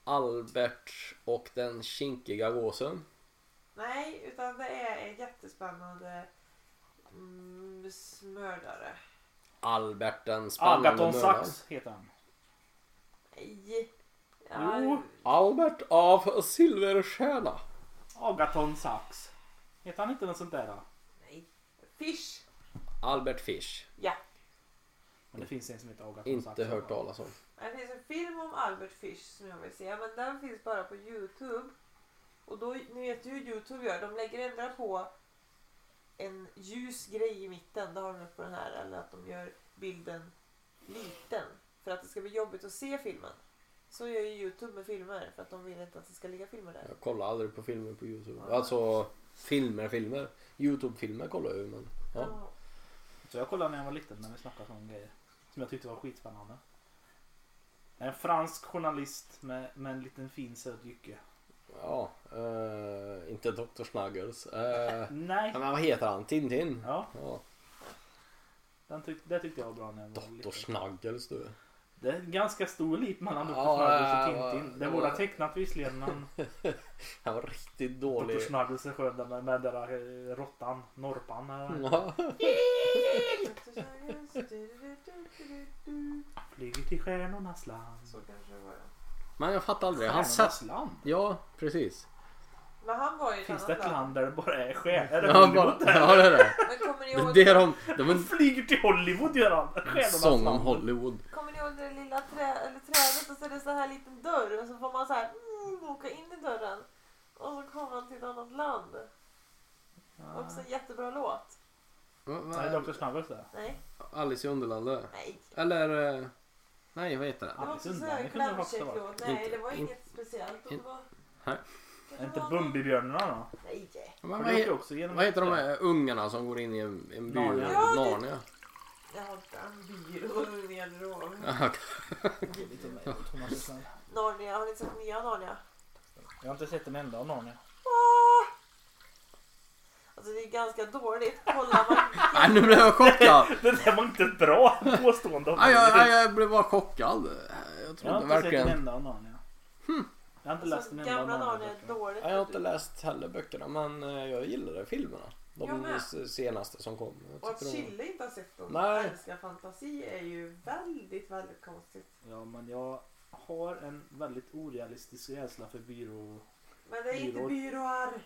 [SPEAKER 3] Albert och den kinkiga gåsen.
[SPEAKER 1] nej, utan det är en jättespännande mm, mördare.
[SPEAKER 3] Albert den spännande
[SPEAKER 2] Agaton
[SPEAKER 3] mördaren.
[SPEAKER 2] Sax heter han.
[SPEAKER 1] Nej.
[SPEAKER 2] Jo.
[SPEAKER 3] Albert av Silverstjärna.
[SPEAKER 2] Agaton Sax. Heter han inte något sånt där? Då?
[SPEAKER 1] nej. Fish.
[SPEAKER 3] Albert Fish.
[SPEAKER 1] Ja.
[SPEAKER 2] Men det finns en som heter Agaton Sax.
[SPEAKER 3] Inte hört
[SPEAKER 2] om.
[SPEAKER 3] talas om.
[SPEAKER 1] Det finns en film om Albert Fish som jag vill se, men den finns bara på Youtube. Och då, ni vet ju hur Youtube gör, de lägger ändra på en ljus grej i mitten, det har de gjort på den här, eller att de gör bilden liten. För att det ska bli jobbigt att se filmen. Så gör ju Youtube med filmer, för att de vill inte att det ska ligga filmer där.
[SPEAKER 3] Jag kollar aldrig på filmer på Youtube. Alltså filmer, filmer. Youtube-filmer kollar jag ju men. Ja.
[SPEAKER 2] Så jag kollade när jag var liten när vi snackade om grejer. Som jag tyckte var skitspännande. En fransk journalist med, med en liten fin söt jycke.
[SPEAKER 3] Ja, eh, inte Dr. Snuggles. Eh,
[SPEAKER 2] Nej.
[SPEAKER 3] men vad heter han? Tintin?
[SPEAKER 2] Ja,
[SPEAKER 3] Ja,
[SPEAKER 2] den tyck, det tyckte jag var bra när jag var
[SPEAKER 3] Dr.
[SPEAKER 2] liten.
[SPEAKER 3] Snuggles du.
[SPEAKER 2] Det är en ganska stor lip mellan Dr.
[SPEAKER 3] Ja,
[SPEAKER 2] Snuggles
[SPEAKER 3] ja,
[SPEAKER 2] och
[SPEAKER 3] ja.
[SPEAKER 2] Tintin. Det är båda tecknat visserligen men
[SPEAKER 3] Han var riktigt
[SPEAKER 2] Dr.
[SPEAKER 3] dålig.
[SPEAKER 2] Snuggles är skön där med, med den där eh, råttan, norpan. eller
[SPEAKER 3] Ja.
[SPEAKER 2] Flyger till stjärnornas land.
[SPEAKER 1] Så kanske det var. ja.
[SPEAKER 3] Men jag fattar aldrig. Han
[SPEAKER 2] Stjärnornas
[SPEAKER 3] satt...
[SPEAKER 2] land?
[SPEAKER 3] Ja, precis.
[SPEAKER 1] Men han var ju i ett
[SPEAKER 2] Finns det
[SPEAKER 1] annat
[SPEAKER 2] ett
[SPEAKER 1] land.
[SPEAKER 2] land där det bara är stjärnor? Är det
[SPEAKER 3] Ja, bara,
[SPEAKER 2] Hollywood?
[SPEAKER 3] ja det är det.
[SPEAKER 1] Men kommer ni
[SPEAKER 3] Men
[SPEAKER 1] ihåg
[SPEAKER 3] det är de... De
[SPEAKER 2] Han
[SPEAKER 3] är
[SPEAKER 2] flyger till Hollywood gör han!
[SPEAKER 3] en
[SPEAKER 2] Stjärnornas
[SPEAKER 3] sång om
[SPEAKER 2] land.
[SPEAKER 3] Hollywood.
[SPEAKER 1] Kommer ni ihåg det lilla trä, eller trädet och så är det så här liten dörr och så får man så här mm, åka in i dörren. Och så kommer man till ett annat land. Också en jättebra låt.
[SPEAKER 2] Nej, Dr. Snuggles det.
[SPEAKER 1] Nej,
[SPEAKER 3] Alice i Underlandet.
[SPEAKER 1] nej.
[SPEAKER 3] Eller... eh, Nej, vad heter
[SPEAKER 1] Det
[SPEAKER 3] den?
[SPEAKER 1] var
[SPEAKER 2] Alice
[SPEAKER 1] också så här
[SPEAKER 2] Underland, det kunde det
[SPEAKER 1] klämkäck
[SPEAKER 2] också
[SPEAKER 1] låt. Nej, det var inget speciellt. Och det var...
[SPEAKER 3] Här.
[SPEAKER 2] Är inte Bumbibjörnarna då?
[SPEAKER 1] Nej.
[SPEAKER 2] För det
[SPEAKER 3] Men vad,
[SPEAKER 2] åker ju
[SPEAKER 3] he,
[SPEAKER 2] också genom
[SPEAKER 3] vad heter de här ungarna som går in i en, en by?
[SPEAKER 2] Narnia.
[SPEAKER 1] Ja, det-
[SPEAKER 3] Narnia.
[SPEAKER 1] Jag har inte en byrå i min garderob.
[SPEAKER 3] Ja,
[SPEAKER 2] Lite mer än Thomas Nilsson.
[SPEAKER 1] Narnia, har ni sett nya Narnia?
[SPEAKER 2] Jag har inte sett en enda av Narnia.
[SPEAKER 1] Ah! Alltså det är ganska dåligt. Kollar man...
[SPEAKER 3] Nej, nu blev jag chockad.
[SPEAKER 2] Det där var inte ett bra påstående.
[SPEAKER 3] Nej, jag, nej, jag blev bara chockad. Jag
[SPEAKER 2] Jag har inte sett
[SPEAKER 3] trodde
[SPEAKER 2] en
[SPEAKER 3] verkligen...
[SPEAKER 2] enda av Narnia.
[SPEAKER 3] Hm.
[SPEAKER 2] Jag har inte läst
[SPEAKER 1] Alltså,
[SPEAKER 2] en enda av
[SPEAKER 1] gamla Narnia
[SPEAKER 2] Narnia.
[SPEAKER 1] är dåligt.
[SPEAKER 3] Nej, jag har inte läst heller böckerna men eh, jag gillade filmerna.
[SPEAKER 1] Jag
[SPEAKER 3] De
[SPEAKER 1] med.
[SPEAKER 3] s- senaste som kom. Jag
[SPEAKER 1] Och att
[SPEAKER 3] tyckte de var-
[SPEAKER 1] Chille inte har sett dem
[SPEAKER 3] Nej.
[SPEAKER 1] älskar fantasi är ju väldigt, väldigt konstigt.
[SPEAKER 2] Ja, men jag har en väldigt orealistisk rädsla för byrå...
[SPEAKER 1] Men det är inte
[SPEAKER 2] Byråer.
[SPEAKER 1] byråer,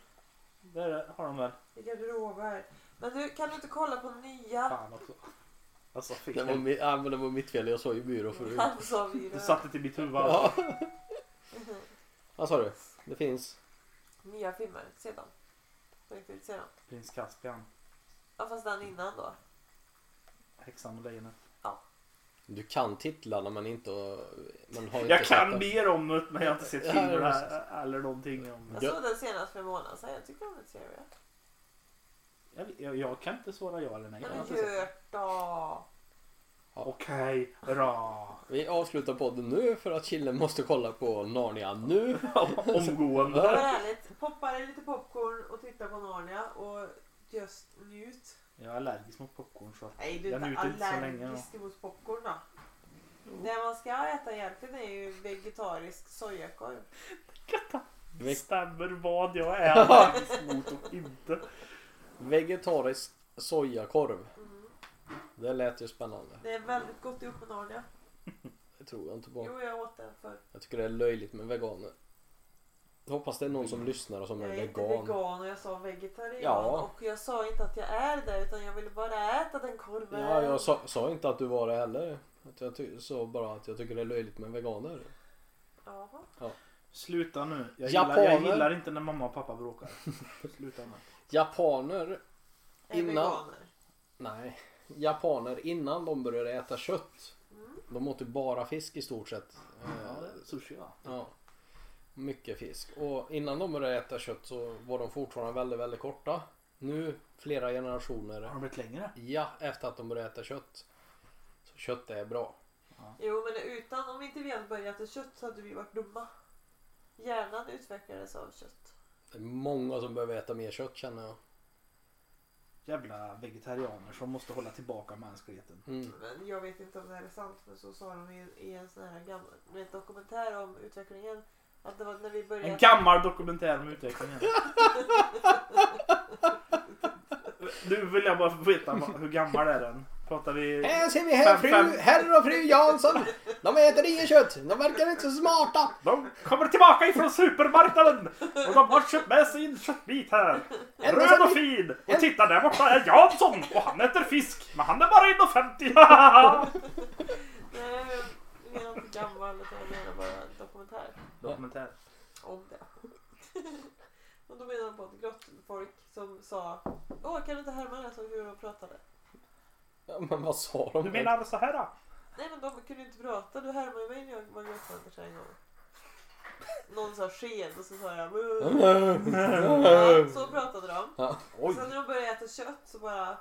[SPEAKER 2] Där har de väl.
[SPEAKER 1] det är garderober. Men du, kan du inte kolla på nya?
[SPEAKER 2] Fan också. Alltså, Jag sa
[SPEAKER 3] det var,
[SPEAKER 2] fel.
[SPEAKER 3] mitt, ja, men det var mitt fel, jag sa ju byrå förut.
[SPEAKER 1] Han sa byrå.
[SPEAKER 2] Du satte till mitt huvud.
[SPEAKER 3] Ja. Vad sa du? Det finns?
[SPEAKER 1] Nya filmer, se dem. På riktigt, se dem.
[SPEAKER 2] Prins Caspian.
[SPEAKER 1] Ja, fast den innan då.
[SPEAKER 2] Häxan och lejonet.
[SPEAKER 3] Du kan titlarna men inte... Men har inte
[SPEAKER 2] Jag kan
[SPEAKER 3] sett dem.
[SPEAKER 2] mer om det men jag har inte sett
[SPEAKER 3] Ja,
[SPEAKER 2] filmerna eller någonting om det.
[SPEAKER 1] Jag
[SPEAKER 3] Ja.
[SPEAKER 1] såg den senast för en månad sedan. Jag tycker de är trevliga.
[SPEAKER 2] Jag, jag, jag kan inte svara ja eller nej.
[SPEAKER 1] Ja,
[SPEAKER 2] Jag
[SPEAKER 1] men
[SPEAKER 2] har inte sett det.
[SPEAKER 1] gör då!
[SPEAKER 2] Okej, bra.
[SPEAKER 3] Vi avslutar podden nu för att killen måste kolla på Narnia nu.
[SPEAKER 2] Omgående.
[SPEAKER 1] Men ärligt, poppa dig lite popcorn och titta på Narnia och just njut.
[SPEAKER 2] Jag är allergisk mot popcorn så att
[SPEAKER 1] Nej, du är
[SPEAKER 2] Jag
[SPEAKER 1] inte
[SPEAKER 2] njuter inte så länge,
[SPEAKER 1] allergisk mot popcorn då. Det man ska äta egentligen är ju vegetarisk sojakorv.
[SPEAKER 2] det
[SPEAKER 3] Ve-
[SPEAKER 2] stämmer vad jag är allergisk mot och inte.
[SPEAKER 3] Vegetarisk sojakorv. Det lät ju spännande.
[SPEAKER 1] Det är väldigt gott ihop med Narnia.
[SPEAKER 3] Det tror jag inte på.
[SPEAKER 1] Jo, jag åt den för
[SPEAKER 3] Jag tycker det är löjligt med veganer. Jag hoppas det är någon som lyssnar och som är
[SPEAKER 1] Jag är inte
[SPEAKER 3] vegan.
[SPEAKER 1] vegan och jag sa vegetarian.
[SPEAKER 3] Ja.
[SPEAKER 1] Och jag sa inte att jag är det utan jag ville bara äta den korven.
[SPEAKER 3] Ja, jag sa, sa inte att du var det heller. Att jag ty- sa bara att jag tycker det är löjligt med veganer.
[SPEAKER 1] Jaha.
[SPEAKER 2] Sluta nu. Jag gillar, jag
[SPEAKER 3] Japaner.
[SPEAKER 2] gillar inte när mamma och pappa bråkar. Sluta nu.
[SPEAKER 3] Japaner,
[SPEAKER 1] Är
[SPEAKER 3] Innan-
[SPEAKER 1] veganer.
[SPEAKER 3] nej. Japaner innan de började äta kött. De åt ju bara fisk i stort sett.
[SPEAKER 2] Ja,
[SPEAKER 3] Eh,
[SPEAKER 2] det är sushi va?
[SPEAKER 3] Ja. Mycket fisk. Och innan de började äta kött så var de fortfarande väldigt, väldigt korta. Nu flera
[SPEAKER 2] Har
[SPEAKER 3] generationer.
[SPEAKER 2] de blivit längre?
[SPEAKER 3] Ja, efter att de började äta kött. Så kött är bra.
[SPEAKER 1] Jo, men utan, om inte vi hade börjat äta kött så hade vi varit dumma. Hjärnan utvecklades av kött.
[SPEAKER 3] Det är många som behöver äta mer kött känner jag.
[SPEAKER 2] Jävla vegetarianer som måste hålla tillbaka mänskligheten.
[SPEAKER 3] Mm.
[SPEAKER 1] Men jag vet inte om det här är sant men så sa de i, i en sån här gammal du vet, dokumentär om utvecklingen. Att det var när vi började...
[SPEAKER 2] En gammal dokumentär om utvecklingen. Nu vill jag bara veta vad- hur gammal är den? Pratar vi...
[SPEAKER 3] Här ser vi
[SPEAKER 2] herr Fem, fru- fem.
[SPEAKER 3] herr och fru Jansson. De äter inget kött. De verkar inte så smarta.
[SPEAKER 2] De kommer tillbaka ifrån supermarknaden och de har köpt med sig en köttbit här.
[SPEAKER 3] En
[SPEAKER 2] Röd och
[SPEAKER 3] köttbit.
[SPEAKER 2] fin.
[SPEAKER 3] En-
[SPEAKER 2] Och titta där borta är Jansson och han äter fisk. Men han är bara 1,50.
[SPEAKER 1] Nej, men jag menar inte gammal utan jag menar bara en dokumentär.
[SPEAKER 2] Dokumentär.
[SPEAKER 1] om det. Och då menar han på att grått folk som sa Åh, kan du inte härma det som hur de pratade?
[SPEAKER 3] Ja, men vad sa de?
[SPEAKER 2] Du menar så här då?
[SPEAKER 1] Nej men de kunde ju inte prata, du härmade ju mig när jag var grottmänniska en gång. Någon sa sked och så sa jag "Buh." ja, Så pratade de.
[SPEAKER 3] Ja,
[SPEAKER 1] Och
[SPEAKER 3] Oj.
[SPEAKER 1] sen när de började äta kött så bara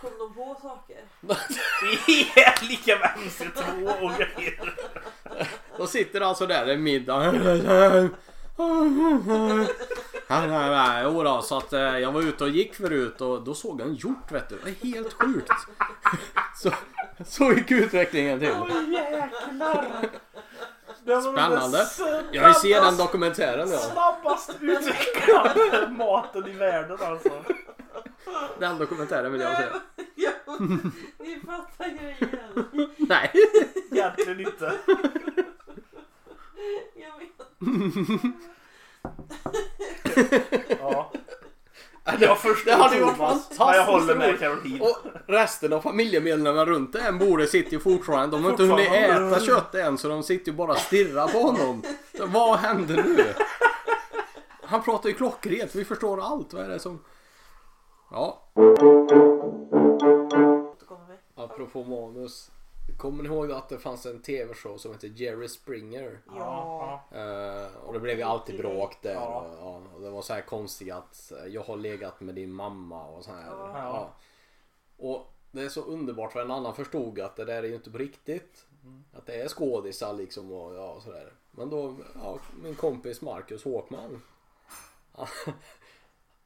[SPEAKER 1] kom de på saker.
[SPEAKER 2] Det är lika vänster två och grejer.
[SPEAKER 3] Då sitter alltså där i middag. Jo då, så att eh, jag var ute och gick förut och då såg jag en hjort vet du. Det är helt sjukt. Så, så gick utvecklingen till.
[SPEAKER 2] Oj jäklar. Det var
[SPEAKER 3] Spännande.
[SPEAKER 2] den
[SPEAKER 3] Jag vill se den
[SPEAKER 2] snabbaste-
[SPEAKER 3] dokumentären ja.
[SPEAKER 2] Snabbast utvecklande maten i världen alltså.
[SPEAKER 3] Den dokumentären vill jag se.
[SPEAKER 1] Ja, Ni fattar grejen.
[SPEAKER 3] Nej.
[SPEAKER 2] Egentligen inte.
[SPEAKER 1] Jag menar,
[SPEAKER 2] Ja.
[SPEAKER 3] Det,
[SPEAKER 2] Jag förstår
[SPEAKER 3] det hade ju varit
[SPEAKER 2] Thomas. Men jag håller
[SPEAKER 3] fantastiskt
[SPEAKER 2] med
[SPEAKER 3] roligt.
[SPEAKER 2] Caroline.
[SPEAKER 3] Och resten av familjemedlemmarna runt en bordet sitter ju fortfarande. De har inte hunnit
[SPEAKER 2] Fortfarande.
[SPEAKER 3] äta kött än så de sitter ju bara och stirrar på honom. Så vad händer nu? Han pratar ju klockrent. Vi förstår allt. Vad är det som... Ja,
[SPEAKER 1] återkommer vi.
[SPEAKER 3] apropå manus. Kommer ni ihåg att det fanns en tv-show som hette Jerry Springer?
[SPEAKER 1] Ja.
[SPEAKER 3] Eh, och det blev ju alltid bråk där.
[SPEAKER 2] Ja.
[SPEAKER 3] Och, ja, och det var så här konstigt att eh, jag har legat med din mamma och så här.
[SPEAKER 1] Ja.
[SPEAKER 2] Ja.
[SPEAKER 3] Och det är så underbart för en annan förstod att det där är ju inte på riktigt. Att det är skådisar liksom och ja, sådär. Men då, ja, min kompis Marcus Håkman. Han,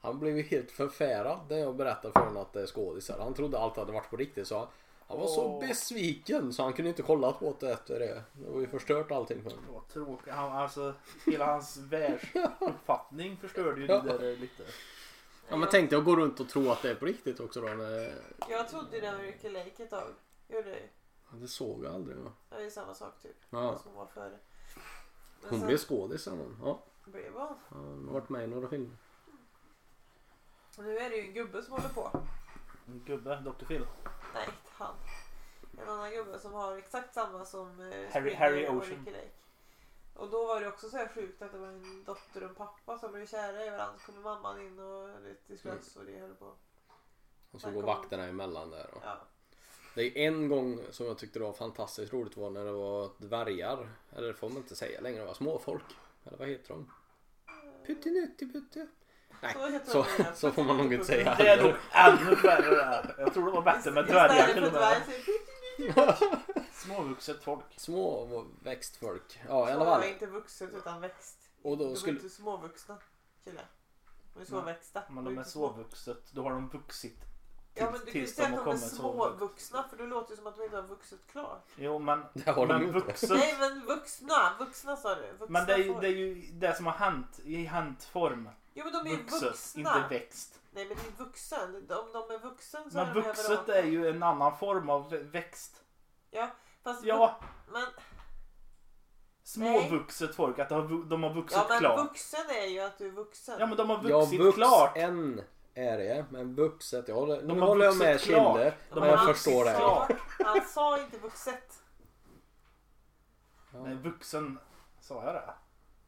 [SPEAKER 3] han blev ju helt förfärad när jag berättade för honom att det är skådisar. Han trodde allt hade varit på riktigt så han, han var så
[SPEAKER 2] Åh.
[SPEAKER 3] besviken så han kunde inte kolla på det efter det. Det var ju förstört allting för honom.
[SPEAKER 2] Det var tråkigt. Han, alltså, hela hans världsuppfattning förstörde ju
[SPEAKER 3] Ja.
[SPEAKER 2] det där lite.
[SPEAKER 3] Ja men tänk dig att gå runt och tro att det är på riktigt också då. När...
[SPEAKER 1] Jag trodde ju den var Ricky Lake ett tag. Gjorde jag ju.
[SPEAKER 3] Det såg jag aldrig. va?
[SPEAKER 1] Det är ju samma sak typ.
[SPEAKER 3] Ja.
[SPEAKER 1] Som var före. Men
[SPEAKER 3] Hon
[SPEAKER 1] sen
[SPEAKER 3] blev skådis sen. hon. Ja,
[SPEAKER 1] blev hon.
[SPEAKER 3] ja, hon har varit med i några filmer.
[SPEAKER 1] Och Nu är det ju en gubbe som håller på.
[SPEAKER 2] En gubbe, Dr. Phil.
[SPEAKER 1] Nej, inte han. En annan gubbe som har exakt samma som eh,
[SPEAKER 2] Harry-
[SPEAKER 1] Springer
[SPEAKER 2] Harry
[SPEAKER 1] och
[SPEAKER 2] Ocean.
[SPEAKER 1] Ricky Lake. Och då var det också så här sjukt att det var en dotter och en pappa som blev kära i varandra. Så kommer mamman in och lite
[SPEAKER 3] Mm.
[SPEAKER 1] slös och det höll på.
[SPEAKER 3] Och så går vakterna emellan där. Och.
[SPEAKER 1] Ja.
[SPEAKER 3] Det är en gång som jag tyckte det var fantastiskt roligt var när det var dvärgar. Eller det får man inte säga längre. Det var småfolk. Eller vad heter de? Puttinutti putte. Nej,
[SPEAKER 1] Så heter
[SPEAKER 3] så,
[SPEAKER 1] de.
[SPEAKER 3] så får man nog inte säga.
[SPEAKER 2] Det är nog ännu värre det här. Jag tror det var bättre med dvärgar
[SPEAKER 1] Istället
[SPEAKER 2] till
[SPEAKER 1] för
[SPEAKER 2] och med.
[SPEAKER 1] dvärg säger
[SPEAKER 2] Småvuxet folk.
[SPEAKER 3] Små växtfolk. Ja, i
[SPEAKER 1] alla
[SPEAKER 3] alla fall.
[SPEAKER 1] inte vuxet utan växt.
[SPEAKER 3] Och då
[SPEAKER 1] de
[SPEAKER 3] skulle-
[SPEAKER 1] är inte småvuxna killar. De är småväxta.
[SPEAKER 2] Men de är
[SPEAKER 1] inte små.
[SPEAKER 2] småvuxet. Då har de vuxit.
[SPEAKER 1] Ja men du kan ju
[SPEAKER 2] tills
[SPEAKER 1] säga
[SPEAKER 2] de
[SPEAKER 1] att de är
[SPEAKER 2] kommer småvuxna.
[SPEAKER 1] småvuxna för det låter ju som att de inte har vuxit klart.
[SPEAKER 2] Jo men,
[SPEAKER 3] Det har de
[SPEAKER 2] men
[SPEAKER 3] inte.
[SPEAKER 2] vuxet.
[SPEAKER 1] Nej men vuxna, vuxna sa du. Vuxna
[SPEAKER 2] Men det är, ju,
[SPEAKER 1] folk.
[SPEAKER 2] det är ju det som har hänt i hänt form.
[SPEAKER 1] Jo men de är ju
[SPEAKER 2] Vuxet,
[SPEAKER 1] vuxna.
[SPEAKER 2] inte växt.
[SPEAKER 1] Nej men det är vuxen. Om de är vuxen så är
[SPEAKER 2] Men
[SPEAKER 1] de överallt.
[SPEAKER 2] vuxet är ju en annan form av vä- växt.
[SPEAKER 1] Fast ja.
[SPEAKER 2] Ja,
[SPEAKER 1] Men,
[SPEAKER 2] småvuxet folk. Att de har, vu- de har vuxit
[SPEAKER 1] ja, men
[SPEAKER 2] klart.
[SPEAKER 1] vuxen är ju att du är vuxen.
[SPEAKER 2] Ja men de har
[SPEAKER 3] Ja,
[SPEAKER 2] vuxit klart.
[SPEAKER 3] vuxen är det, men vuxet. Jag håller, nu
[SPEAKER 2] har
[SPEAKER 3] håller jag
[SPEAKER 2] vuxit
[SPEAKER 3] med
[SPEAKER 2] klart.
[SPEAKER 3] Kille.
[SPEAKER 1] Ja,
[SPEAKER 3] Men
[SPEAKER 1] men
[SPEAKER 3] jag
[SPEAKER 1] han
[SPEAKER 3] förstår det.
[SPEAKER 1] sa- Han sa inte vuxet.
[SPEAKER 3] Ja.
[SPEAKER 2] Nej, vuxen. Sa jag det?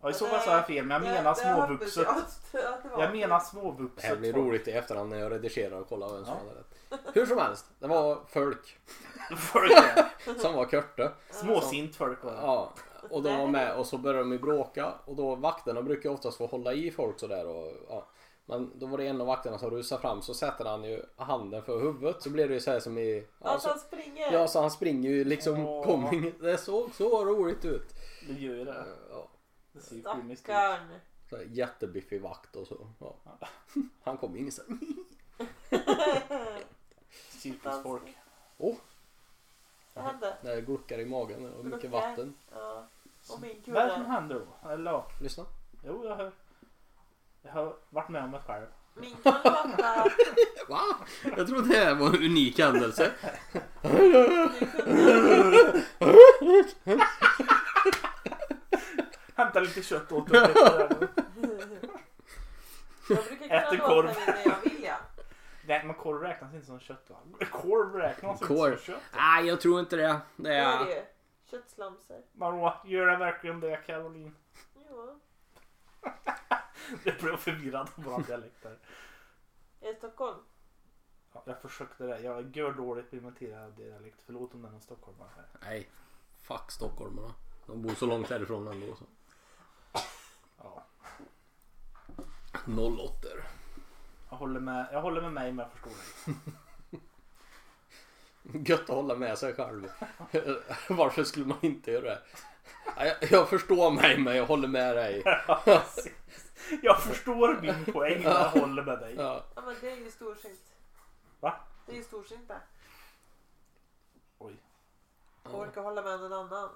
[SPEAKER 2] Ja, i så
[SPEAKER 1] Men
[SPEAKER 2] fall
[SPEAKER 1] det-
[SPEAKER 2] sa jag fel. Men jag menar
[SPEAKER 1] det- det
[SPEAKER 2] småvuxet.
[SPEAKER 1] hoppas jag att det var.
[SPEAKER 2] Jag menar
[SPEAKER 3] Det här
[SPEAKER 2] småvuxet
[SPEAKER 3] blir
[SPEAKER 2] folk.
[SPEAKER 3] roligt i efterhand när jag redigerar och kollar vem som
[SPEAKER 2] Ja.
[SPEAKER 3] hade rätt. Hur som helst, det var folk
[SPEAKER 2] Folk är-
[SPEAKER 3] som var körte.
[SPEAKER 2] Småsint folk var det.
[SPEAKER 3] Ja, och de var med och så började de ju bråka och då vakterna brukar ju oftast få hålla i folk sådär och ja. Men då var det en av vakterna som rusade fram så sätter han ju handen för huvudet så blir det ju så här som i... Ja,
[SPEAKER 1] Att
[SPEAKER 3] så,
[SPEAKER 1] han springer.
[SPEAKER 3] ja, så han springer ju liksom...
[SPEAKER 2] Åh.
[SPEAKER 3] Kom, ingen- det såg så roligt ut. Eh,
[SPEAKER 2] Det gör ju det.
[SPEAKER 3] Ja,
[SPEAKER 2] Det ser ju filmiskt ut.
[SPEAKER 1] Stackarn.
[SPEAKER 3] så här jättebiffig vakt och så. Ja. Han kom in sen.
[SPEAKER 2] Cirkusfolk.
[SPEAKER 3] Åh,
[SPEAKER 1] Vad hände?
[SPEAKER 3] det gluckar i magen och mycket
[SPEAKER 1] Gluckar.
[SPEAKER 3] vatten.
[SPEAKER 1] Ja. Och min
[SPEAKER 2] Vad är det som
[SPEAKER 1] kudde.
[SPEAKER 2] händer då? Eller ja,
[SPEAKER 3] Lyssna.
[SPEAKER 2] jo jag har, jag har varit med om det själv.
[SPEAKER 1] Min kudde fattade.
[SPEAKER 3] Va? Jag trodde det här var en unik händelse.
[SPEAKER 2] Hämta lite kött åt honom.
[SPEAKER 1] Jag brukar kunna
[SPEAKER 2] Äter
[SPEAKER 1] låta
[SPEAKER 2] korv.
[SPEAKER 1] mig när jag vill ja.
[SPEAKER 2] Nej men korv räknas inte som kött va? Korv räknas
[SPEAKER 3] Korv.
[SPEAKER 2] inte som kött.
[SPEAKER 3] Nej, jag tror inte det. Det
[SPEAKER 1] Det är
[SPEAKER 3] är...
[SPEAKER 1] det ju. Köttslamsor.
[SPEAKER 2] Marå, gör det verkligen det Caroline?
[SPEAKER 1] Ja.
[SPEAKER 2] Jag blev förvirrad av våra dialekter.
[SPEAKER 1] Är det Stockholm?
[SPEAKER 2] Ja, jag försökte det. Jag är gör dåligt på att imitera dialekt. Förlåt om den är stockholmare. här.
[SPEAKER 3] Nej. Fuck stockholmarna. De bor så långt härifrån ändå. Så.
[SPEAKER 2] Ja.
[SPEAKER 3] 08
[SPEAKER 2] Jag håller med, jag håller med mig men jag förstår dig.
[SPEAKER 3] Gött att hålla med sig själv. Varför skulle man inte göra det? Ja, Jag, jag förstår mig men jag håller med dig.
[SPEAKER 2] Jag förstår min poäng men jag håller med dig.
[SPEAKER 3] Ja.
[SPEAKER 1] Ja men det är ju storsint.
[SPEAKER 2] Va?
[SPEAKER 1] Det är ju storsint det.
[SPEAKER 2] Oj.
[SPEAKER 1] Och orka hålla med någon annan.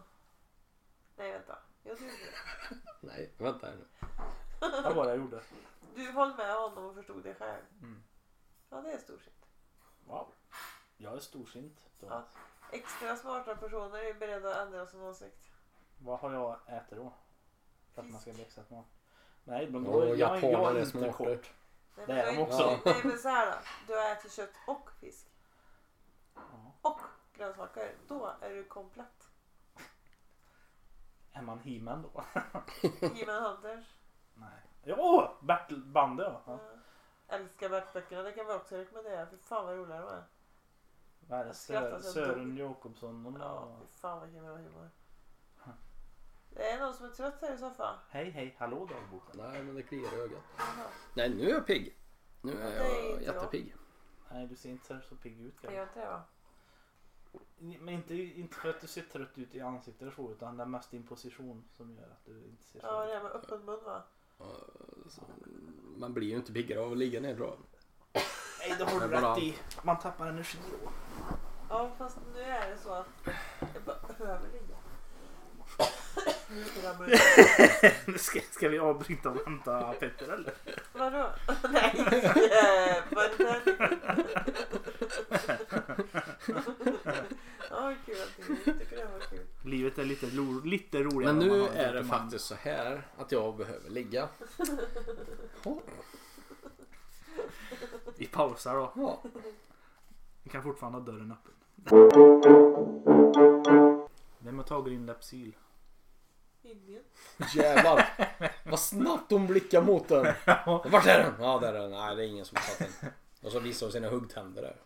[SPEAKER 1] Nej vänta. Jag tror inte det.
[SPEAKER 3] Nej, vänta här nu.
[SPEAKER 2] Det var det jag gjorde.
[SPEAKER 1] Du höll med honom och förstod det själv.
[SPEAKER 2] Mm.
[SPEAKER 1] Ja det är storsint.
[SPEAKER 2] Wow. Jag är storsint. Då.
[SPEAKER 1] Ja. Extra smarta personer är beredda att ändra sin åsikt.
[SPEAKER 2] Vad har jag ätit då? För att man ska bli extra smart. Nej, men
[SPEAKER 3] Åh,
[SPEAKER 2] då, jag, jag,
[SPEAKER 3] japaner
[SPEAKER 2] är
[SPEAKER 3] är
[SPEAKER 2] inte
[SPEAKER 3] smarta.
[SPEAKER 2] kort.
[SPEAKER 1] Nej,
[SPEAKER 2] Det
[SPEAKER 1] men
[SPEAKER 2] är
[SPEAKER 1] du
[SPEAKER 2] de
[SPEAKER 1] har inte-
[SPEAKER 2] också.
[SPEAKER 1] Nej men så här då. Du har ätit kött och fisk. Och grönsaker. Då är du komplett.
[SPEAKER 2] Är man he då?
[SPEAKER 1] He-Man Hunters.
[SPEAKER 2] Nej. Ja, Bertil Bande ja.
[SPEAKER 1] Ja. Älskar värtböckerna. Det kan vi också rekommendera. Fy fan vad roliga de är.
[SPEAKER 2] Vad är det?
[SPEAKER 1] Jag skrattar
[SPEAKER 2] Sö-
[SPEAKER 1] så jag
[SPEAKER 2] Sören Jakobsson och
[SPEAKER 1] Ja,
[SPEAKER 2] ja.
[SPEAKER 1] fy fan vilken bra humor. Det är någon som är trött här i soffan.
[SPEAKER 2] Hej hej, hallå dagboken.
[SPEAKER 3] Nej men det kliar i ögat.
[SPEAKER 1] Jaha.
[SPEAKER 3] Nej nu är jag pigg. Nu är
[SPEAKER 1] Nej,
[SPEAKER 3] jag
[SPEAKER 1] inte jag.
[SPEAKER 3] jättepigg.
[SPEAKER 2] Nej du ser inte så- så pigg ut
[SPEAKER 1] Jag
[SPEAKER 2] grabben.
[SPEAKER 1] gör inte det va?
[SPEAKER 2] Men inte, inte för att du ser trött ut i ansiktet eller så utan det är mest din position som gör att du inte ser så
[SPEAKER 1] Ja,
[SPEAKER 2] ut.
[SPEAKER 1] det är med öppen mun va?
[SPEAKER 3] Så, Man blir ju inte piggare av att ligga ner då.
[SPEAKER 2] Nej det har du
[SPEAKER 3] Jag bara-
[SPEAKER 2] rätt i. Man tappar energi då.
[SPEAKER 1] Ja, fast nu är det så att jag bara behöver ligga. Nu ramlar jag.
[SPEAKER 2] Nu ska, ska vi avbryta och hämta Petter eller?
[SPEAKER 1] Vadå? Nej, eh, vad är det där? Ja, kul att du tycker det här var kul.
[SPEAKER 2] Livet är lite, ro, lite roligare
[SPEAKER 3] Men
[SPEAKER 2] om man
[SPEAKER 3] nu
[SPEAKER 2] har en
[SPEAKER 3] är det
[SPEAKER 2] man.
[SPEAKER 3] faktiskt så här att jag behöver ligga. Ja.
[SPEAKER 2] Vi pausar då.
[SPEAKER 3] Ja.
[SPEAKER 2] Vi kan fortfarande ha dörren öppen. Vem har tagit in Lepsyl?
[SPEAKER 1] Indien.
[SPEAKER 3] Jävlar vad snabbt hon blickar mot den. Vart är den? Ja där är den. Nej det är ingen som har satt den. Och så visar hon sina huggtänder där.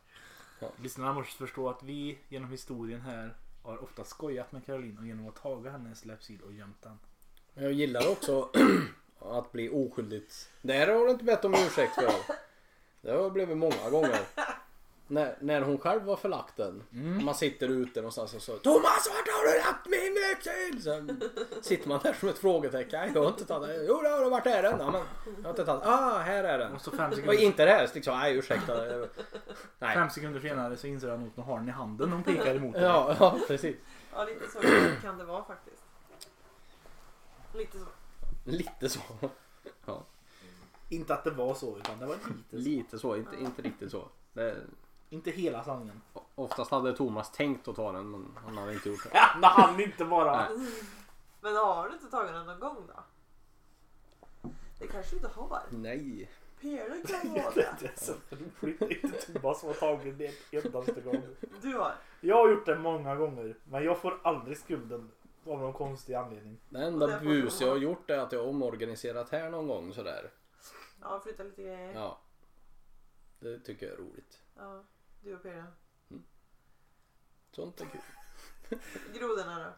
[SPEAKER 2] Lyssnarna måste förstå att vi genom historien här har ofta skojat med Carolina genom att taga hennes Lepsyl och gömt den.
[SPEAKER 3] Men Jag gillar också att bli oskyldigt. Det här har du inte bett om ursäkt för. Det har jag blivit många gånger. När, när hon själv var förlakten. Man sitter ute någonstans och så Thomas vart har du lagt min växel? Sen sitter man där som ett frågetecken. Nej, Jag har inte tagit den. Jo det har du. Vart är den? Ja, men, jag har inte tagit den. Ah här är den.
[SPEAKER 2] Och så fem
[SPEAKER 3] Och
[SPEAKER 2] sekunder,
[SPEAKER 3] inte det här. Så Liksom, nej ursäkta. Nej.
[SPEAKER 2] fem sekunder senare så inser han att hon har den i handen hon pekar emot dig.
[SPEAKER 3] Ja, ja precis.
[SPEAKER 1] Ja, lite så kan det vara faktiskt. Lite så.
[SPEAKER 3] Lite så.
[SPEAKER 2] Inte att det var så utan det var lite så.
[SPEAKER 3] Lite så. Inte, inte riktigt så. Det,
[SPEAKER 2] Inte hela sanningen.
[SPEAKER 3] oftast hade Thomas tänkt att ta den men han hade inte gjort det.
[SPEAKER 2] Ja, när han inte bara...
[SPEAKER 3] Nej.
[SPEAKER 1] Men har du inte tagit den någon gång då? Det kanske du inte har.
[SPEAKER 3] Nej.
[SPEAKER 1] Pelle kan ha det.
[SPEAKER 2] Det är så roligt. Det är inte Thomas som har tagit det en endaste gång.
[SPEAKER 1] Du har.
[SPEAKER 2] Jag har gjort det många gånger men jag får aldrig skulden av någon konstig anledning.
[SPEAKER 3] Det
[SPEAKER 1] Och
[SPEAKER 3] enda
[SPEAKER 1] där Alltså, får
[SPEAKER 3] bus
[SPEAKER 1] du-
[SPEAKER 3] jag har gjort är att jag har omorganiserat här någon gång sådär.
[SPEAKER 1] Ja, flytta lite grejer. Ja.
[SPEAKER 3] Ja. Det tycker jag är roligt.
[SPEAKER 1] du och Pelle.
[SPEAKER 3] Sånt är kul.
[SPEAKER 1] Grodorna då?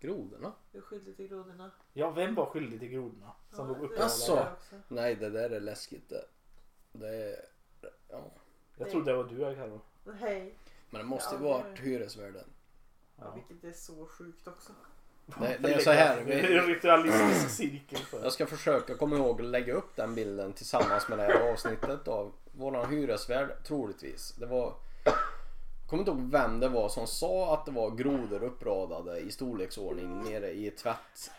[SPEAKER 3] Grodorna?
[SPEAKER 1] Du är skyldig till grodorna.
[SPEAKER 2] Ja, vem var skyldig till grodorna? Som låg uppe
[SPEAKER 1] det-
[SPEAKER 3] Asså.
[SPEAKER 1] det också.
[SPEAKER 3] Nej det där är läskigt det. Det är... Ja.
[SPEAKER 2] Jag trodde det var du, Carro.
[SPEAKER 1] Hej.
[SPEAKER 3] Men det måste ju
[SPEAKER 1] Ja, det-
[SPEAKER 3] varit hyresvärden.
[SPEAKER 1] Ja, vilket är så sjukt också.
[SPEAKER 3] Det, det är så här.
[SPEAKER 2] Det är en
[SPEAKER 3] Vi,
[SPEAKER 2] ritualistisk cirkel. För.
[SPEAKER 3] jag ska försöka komma ihåg att lägga upp den bilden tillsammans med det här avsnittet av våran hyresvärd troligtvis. Det var... Jag kommer inte ihåg vem det var som sa att det var grodor uppradade i storleksordning nere i tvätt...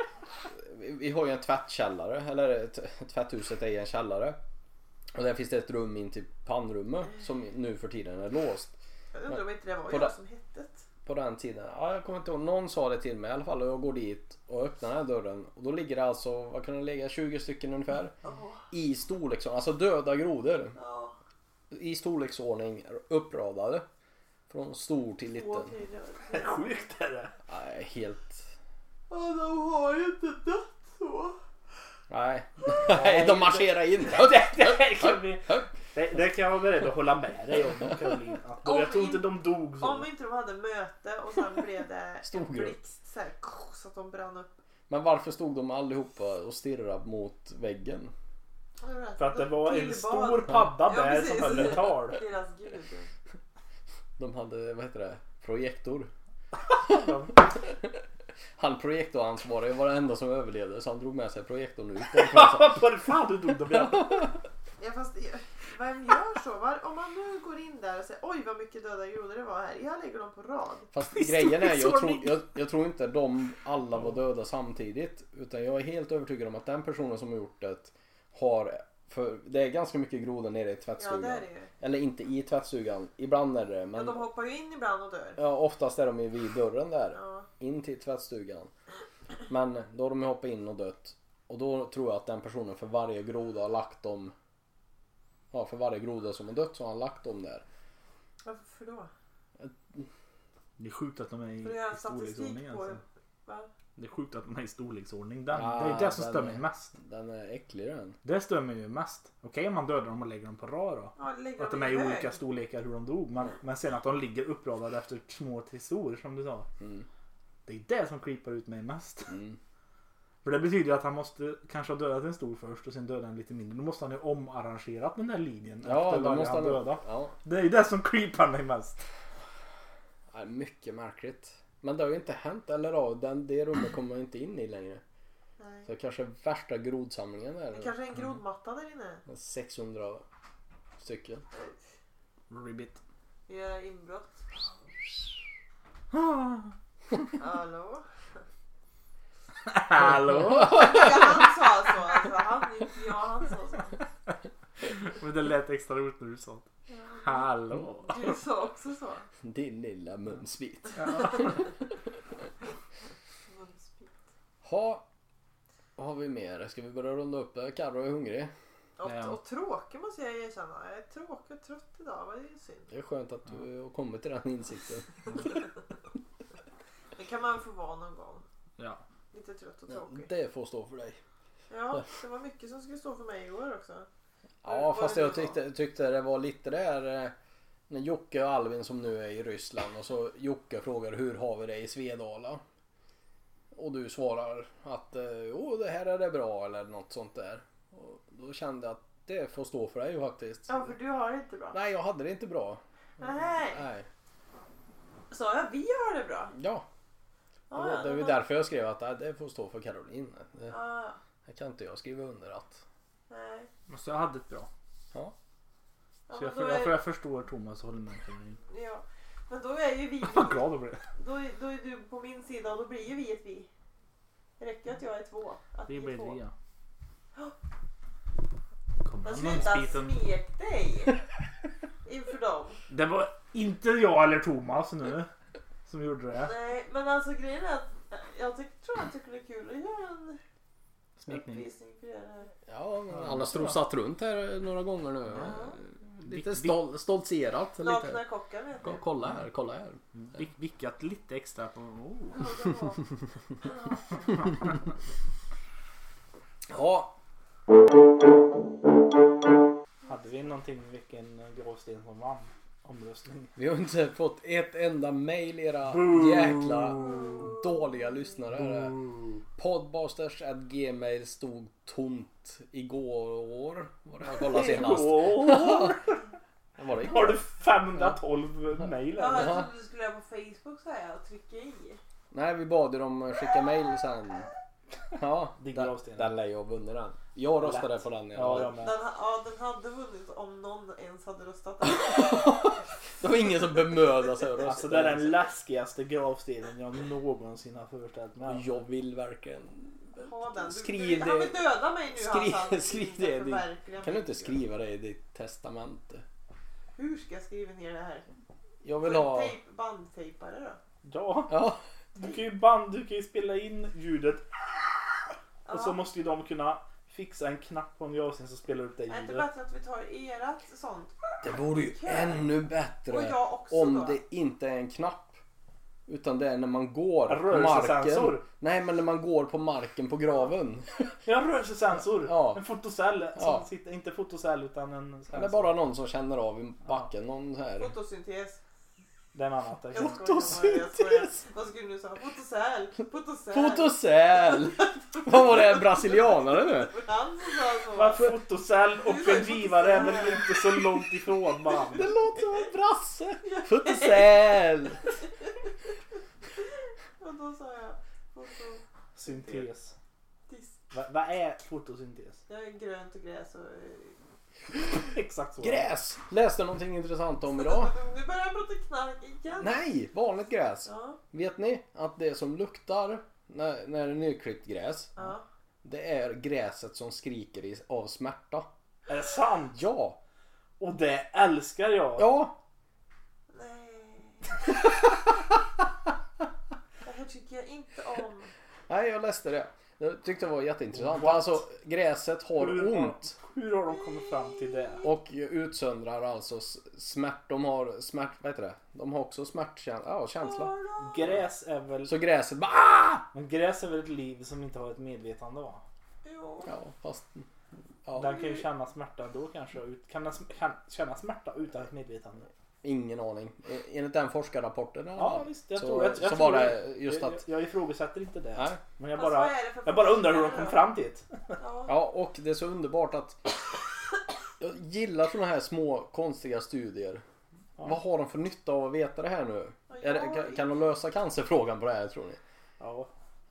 [SPEAKER 3] Vi vi har ju en tvättkällare, eller t- tvätthuset är i en källare. Och där finns det ett rum in till pannrummet som nu för tiden är låst.
[SPEAKER 1] Jag undrar om inte det var
[SPEAKER 3] På
[SPEAKER 1] jag
[SPEAKER 3] det-
[SPEAKER 1] som hette det.
[SPEAKER 3] På den tiden, ja, jag kommer inte ihåg, någon sa det till mig i alla fall och jag går dit och öppnar den här dörren och då ligger det alltså, vad kan det ligga, 20 stycken ungefär?
[SPEAKER 1] Ja.
[SPEAKER 3] I storleksordning, alltså döda grodor
[SPEAKER 1] Ja,
[SPEAKER 3] i storleksordning uppradade. Från stor till
[SPEAKER 1] två
[SPEAKER 3] liten.
[SPEAKER 1] tydliga.
[SPEAKER 2] Sjukt är det.
[SPEAKER 3] Nej, helt...
[SPEAKER 1] Ja, de har ju inte dött så.
[SPEAKER 3] Nej. Nej, de marscherar in.
[SPEAKER 2] Det här kan, vi, det, det kan jag vara beredd att hålla med dig om Caroline. Att de, jag tror inte de dog
[SPEAKER 1] Om
[SPEAKER 2] så.
[SPEAKER 1] inte de hade möte och sen blev det
[SPEAKER 3] Stor
[SPEAKER 1] en
[SPEAKER 3] grupp.
[SPEAKER 1] blixt så, här, så att de brann upp.
[SPEAKER 3] Men varför stod de allihopa och stirrade mot väggen?
[SPEAKER 2] För att det var en
[SPEAKER 1] Tillbad
[SPEAKER 2] stor padda
[SPEAKER 1] Ja,
[SPEAKER 2] där
[SPEAKER 1] precis.
[SPEAKER 2] som höll ett tal.
[SPEAKER 1] Deras gud.
[SPEAKER 3] De hade, vad heter det, projektor.
[SPEAKER 2] De-
[SPEAKER 3] Han projektoransvarig var den enda som överlevde så han drog med sig projektorn ut.
[SPEAKER 2] Vad fan du dog dem igen.
[SPEAKER 1] Ja, fast vem gör så? Var, om man nu går in där och säger oj vad mycket döda grodor det var här. Jag lägger dem på rad.
[SPEAKER 3] Fast
[SPEAKER 2] Visst,
[SPEAKER 3] grejen är, jag tror,
[SPEAKER 2] storleksordning.
[SPEAKER 3] jag, jag tror inte de alla var döda samtidigt. Utan jag är helt övertygad om att den personen som har gjort det har, för det är ganska mycket grodor nere i
[SPEAKER 1] Ja,
[SPEAKER 3] tvättstugan.
[SPEAKER 1] det är det ju.
[SPEAKER 3] Eller inte i tvättstugan, ibland är det
[SPEAKER 1] Ja,
[SPEAKER 3] men
[SPEAKER 1] de hoppar ju in ibland och dör.
[SPEAKER 3] ja, oftast är de ju vid dörren där.
[SPEAKER 1] Ja.
[SPEAKER 3] In till tvättstugan. Men då har de ju hoppat in och dött. Och då tror jag att den personen för varje groda har lagt dem, ja för varje groda som har dött så har han lagt dem där.
[SPEAKER 1] Varför då?
[SPEAKER 2] Det är sjukt att de är
[SPEAKER 1] För att göra
[SPEAKER 2] i
[SPEAKER 1] statistik
[SPEAKER 2] storleksordning
[SPEAKER 1] på...
[SPEAKER 2] alltså.
[SPEAKER 1] Va?
[SPEAKER 2] Det är sjukt att den är i storleksordning. Den,
[SPEAKER 3] Ja,
[SPEAKER 2] det är det som
[SPEAKER 3] den
[SPEAKER 2] stör
[SPEAKER 3] är-
[SPEAKER 2] mig mest.
[SPEAKER 3] Den är äcklig den.
[SPEAKER 2] Det stör mig ju mest. Okej om man dödar dem och lägger dem på rad då.
[SPEAKER 1] Ja, lägger
[SPEAKER 2] Och att de
[SPEAKER 1] dem
[SPEAKER 2] är i
[SPEAKER 1] hög.
[SPEAKER 2] olika storlekar hur de dog. Men, men sen att de ligger uppradade efter små trisorer som du sa.
[SPEAKER 3] Mm.
[SPEAKER 2] Det är det som creepar ut mig mest.
[SPEAKER 3] Mm.
[SPEAKER 2] För det betyder ju att han måste kanske ha dödat en stor först och sen dödat en lite mindre. Då måste han ju omarrangerat den där linjen
[SPEAKER 3] Ja,
[SPEAKER 2] efter
[SPEAKER 3] då
[SPEAKER 2] varje
[SPEAKER 3] måste
[SPEAKER 2] han
[SPEAKER 3] han...
[SPEAKER 2] döda.
[SPEAKER 3] Ja,
[SPEAKER 2] Det är ju det som creepar mig mest.
[SPEAKER 3] Ja, mycket märkligt. Men det har ju inte hänt. Eller ja, den, det rummet kommer man inte in i längre.
[SPEAKER 1] Nej.
[SPEAKER 3] Så kanske värsta grodsamlingen
[SPEAKER 1] Det
[SPEAKER 3] där.
[SPEAKER 1] kanske är en grodmatta där inne.
[SPEAKER 3] 600 stycken.
[SPEAKER 2] Ribbit.
[SPEAKER 1] Vi gör inbrott.
[SPEAKER 2] Ah.
[SPEAKER 1] Hallå?
[SPEAKER 2] Hallå?
[SPEAKER 1] Ja, han sa så. Alltså, han, inte jag, han sa så.
[SPEAKER 2] Men det lät extra roligt när du sa det. Hallå?
[SPEAKER 1] Du sa också så.
[SPEAKER 3] Din lilla munsbit.
[SPEAKER 1] Munspik.
[SPEAKER 3] Ha. Vad har vi mer? Ska vi börja runda upp det? Carro är hungrig.
[SPEAKER 1] Och,
[SPEAKER 2] Ja.
[SPEAKER 1] och tråkig måste jag erkänna. Jag är tråkig och trött idag. Vad är det synd.
[SPEAKER 3] Det är skönt att du har kommit till den insikten.
[SPEAKER 1] Det kan man få vara någon gång.
[SPEAKER 2] Ja.
[SPEAKER 1] Lite trött och
[SPEAKER 3] Ja,
[SPEAKER 1] tråkig.
[SPEAKER 3] det får stå för dig.
[SPEAKER 1] Ja, det var mycket som skulle stå för mig igår också.
[SPEAKER 3] Ja,
[SPEAKER 1] Vad
[SPEAKER 3] fast
[SPEAKER 1] är det
[SPEAKER 3] jag
[SPEAKER 1] då?
[SPEAKER 3] tyckte, tyckte det var lite där eh, när Jocke och Alvin som nu är i Ryssland och så Jocke frågar hur har vi det i Svedala? Och du svarar att eh, jo det här är det bra eller något sånt där. Och då kände jag att det får stå för dig faktiskt.
[SPEAKER 1] Ja, för du har det inte bra.
[SPEAKER 3] Nej jag hade det inte bra.
[SPEAKER 1] Nej.
[SPEAKER 3] Nej.
[SPEAKER 1] Sa jag vi har det bra?
[SPEAKER 3] Ja, det
[SPEAKER 1] Ja,
[SPEAKER 3] var, det var ju
[SPEAKER 1] men-
[SPEAKER 3] därför jag skrev att eh, det får stå för Caroline. Det,
[SPEAKER 1] Ja, ja.
[SPEAKER 3] det kan inte jag skriva under att.
[SPEAKER 1] nej.
[SPEAKER 2] Så jag hade ett bra.
[SPEAKER 3] Ja.
[SPEAKER 1] Ja,
[SPEAKER 2] Så
[SPEAKER 1] men
[SPEAKER 2] jag,
[SPEAKER 1] då
[SPEAKER 2] för, jag, för
[SPEAKER 1] är,
[SPEAKER 2] jag förstår Thomas och håller med Karin.
[SPEAKER 1] ja. Men då är ju vi...
[SPEAKER 2] Vad glad jag blev.
[SPEAKER 1] Då är, då är du på min sida och då blir ju vi ett vi. Det räcker att jag är två. Att
[SPEAKER 2] Vi
[SPEAKER 1] är
[SPEAKER 2] blev
[SPEAKER 1] två.
[SPEAKER 2] rea.
[SPEAKER 1] Men
[SPEAKER 2] Kom igen
[SPEAKER 1] sluta
[SPEAKER 2] munsbiten.
[SPEAKER 1] smek dig! Inför dem.
[SPEAKER 2] Det var inte jag eller Thomas nu som gjorde det.
[SPEAKER 1] Nej, men alltså grejen är att jag tyck, tror att det skulle vara kul att göra en
[SPEAKER 2] Smekning.
[SPEAKER 1] uppvisning för det här.
[SPEAKER 3] Ja, men
[SPEAKER 2] Ja,
[SPEAKER 3] han har
[SPEAKER 2] bra.
[SPEAKER 3] strosat runt här några gånger nu.
[SPEAKER 1] Ja.
[SPEAKER 3] Lite
[SPEAKER 2] Vi-
[SPEAKER 3] stol, stoltserat. Lite.
[SPEAKER 1] Nakna kocken vet
[SPEAKER 3] Ko-
[SPEAKER 1] du.
[SPEAKER 3] Kolla här, kolla här.
[SPEAKER 2] Vi- Vickat lite extra på... Oh.
[SPEAKER 1] Någon gång. Ja.
[SPEAKER 3] Ja,
[SPEAKER 2] Hade vi någonting vilken gråsten som vann? Omröstning.
[SPEAKER 3] vi har inte fått ett enda mail era jäkla dåliga lyssnare. Podbusters@gmail stod tomt igår. Var det jag kollade senast?
[SPEAKER 2] Åh,
[SPEAKER 3] Var det
[SPEAKER 2] Har
[SPEAKER 3] igår?
[SPEAKER 2] du 512 mejl
[SPEAKER 1] Ja,
[SPEAKER 2] eller?
[SPEAKER 1] jag trodde du skulle göra på Facebook så här och trycka i.
[SPEAKER 3] Nej, vi bad ju dem skicka mail sen. Ja,
[SPEAKER 2] Din
[SPEAKER 3] den-
[SPEAKER 2] gravsten.
[SPEAKER 3] den lär jag ha vunnit den. Jag röstade på den.
[SPEAKER 2] Ja, jag
[SPEAKER 3] Ja.
[SPEAKER 1] Den,
[SPEAKER 2] med.
[SPEAKER 1] ha- ja, den hade vunnit om någon ens hade röstat den.
[SPEAKER 3] Det var ingen som bemödade sig att rösta.
[SPEAKER 2] Alltså det är den läskigaste gravstenen jag någonsin har föreställt mig.
[SPEAKER 3] Jag vill verkligen...
[SPEAKER 1] Ha den. Du,
[SPEAKER 3] Skriv
[SPEAKER 1] du, Han
[SPEAKER 3] det.
[SPEAKER 1] vill döda mig nu
[SPEAKER 3] Skriv-
[SPEAKER 1] Hassan.
[SPEAKER 3] skriv
[SPEAKER 1] Du vill
[SPEAKER 3] det,
[SPEAKER 1] inte
[SPEAKER 3] din-
[SPEAKER 1] förverkliga
[SPEAKER 3] Kan du
[SPEAKER 1] mig.
[SPEAKER 3] inte skriva det i ditt testamente?
[SPEAKER 1] Hur ska jag skriva ner det här?
[SPEAKER 3] Jag vill ha...
[SPEAKER 1] Tejp, bandtejpare då?
[SPEAKER 2] Ja,
[SPEAKER 3] Ja,
[SPEAKER 2] du kan ju band, du kan ju spela in ljudet
[SPEAKER 1] Ja.
[SPEAKER 2] och så måste ju de kunna fixa en knapp på en gravsten som spelar upp det
[SPEAKER 1] är det inte
[SPEAKER 2] ljudet.
[SPEAKER 1] bättre att vi tar erat sånt?
[SPEAKER 3] det vore ju ännu bättre
[SPEAKER 1] Och jag också
[SPEAKER 3] om
[SPEAKER 1] då?
[SPEAKER 3] det inte är en knapp. Utan det är när man går på
[SPEAKER 2] Rörelsesensor.
[SPEAKER 3] marken. Nej, men när man går på marken på graven.
[SPEAKER 2] En rörelsesensor!
[SPEAKER 3] Ja.
[SPEAKER 2] En fotocell!
[SPEAKER 3] Ja.
[SPEAKER 2] Som sitter, inte fotocell utan en sensor.
[SPEAKER 3] Eller bara någon som känner av i backen. Någon så här.
[SPEAKER 1] Fotosyntes.
[SPEAKER 2] Det är en annan. typ. där.
[SPEAKER 1] Jag skojar bara, jag
[SPEAKER 3] Fotosyntes!
[SPEAKER 1] skojar. Vad skulle du säga? Fotosel! Fotosel!
[SPEAKER 3] Fotocell! Vad var det? Brasilianare nu?
[SPEAKER 1] Han som sa så.
[SPEAKER 2] Vad fotocell och
[SPEAKER 1] Du är
[SPEAKER 2] en givare är
[SPEAKER 1] fotocell.
[SPEAKER 2] väl inte så långt ifrån varandra.
[SPEAKER 3] Det låter som en brasse. Fotocell!
[SPEAKER 1] Och då sa jag fotosyntes.
[SPEAKER 2] Syntes. Va- Vad är fotosyntes?
[SPEAKER 1] Det är grönt och gräs och... eh,
[SPEAKER 2] Exakt så.
[SPEAKER 3] Gräs! Läste någonting intressant om idag?
[SPEAKER 1] Nu börjar jag prata knark igen.
[SPEAKER 3] Nej, vanligt gräs.
[SPEAKER 1] Ja,
[SPEAKER 3] Vet ni att det som luktar när, när det är nyklippt gräs,
[SPEAKER 1] ja.
[SPEAKER 3] det är gräset som skriker i, av smärta.
[SPEAKER 2] Är det sant?
[SPEAKER 3] Ja!
[SPEAKER 2] Och det älskar jag.
[SPEAKER 3] Ja!
[SPEAKER 1] Nej. Det här tycker jag inte om.
[SPEAKER 3] Nej, jag läste det. Jag tyckte det var jätteintressant.
[SPEAKER 2] What?
[SPEAKER 3] Alltså gräset har
[SPEAKER 2] Hur-
[SPEAKER 3] ont
[SPEAKER 2] Hur har de kommit fram till det?
[SPEAKER 3] och utsöndrar alltså s- smärt. De har smärt, vad heter det? De har också smärtkänsla. Ja, känsla.
[SPEAKER 2] Gräs är väl...
[SPEAKER 3] Så gräset bara "Ah!"
[SPEAKER 2] Men gräs är väl ett liv som inte har ett medvetande va?
[SPEAKER 1] Jo.
[SPEAKER 3] Ja, fast... Ja,
[SPEAKER 2] Den kan ju känna smärta då kanske. ut- Kan den sm- kan känna smärta utan ett medvetande?
[SPEAKER 3] ingen aning. E- Enligt den forskarrapporten eller?
[SPEAKER 2] Ja visst, jag
[SPEAKER 3] så,
[SPEAKER 2] tror jag, jag
[SPEAKER 3] så
[SPEAKER 2] tror
[SPEAKER 3] var det just
[SPEAKER 2] jag,
[SPEAKER 3] att...
[SPEAKER 2] jag, jag ifrågasätter inte det.
[SPEAKER 3] Nej.
[SPEAKER 2] Men jag
[SPEAKER 1] Fast vad
[SPEAKER 2] bara,
[SPEAKER 1] är det för
[SPEAKER 2] jag bara undrar hur de kom fram till det.
[SPEAKER 1] Ja.
[SPEAKER 3] Ja, och det är så underbart att jag gillar sådana här små konstiga studier.
[SPEAKER 2] Ja.
[SPEAKER 3] Vad har de för nytta av att veta det här nu?
[SPEAKER 1] Ja,
[SPEAKER 3] Är det, kan, kan de lösa cancerfrågan på det här tror ni?
[SPEAKER 2] Ja.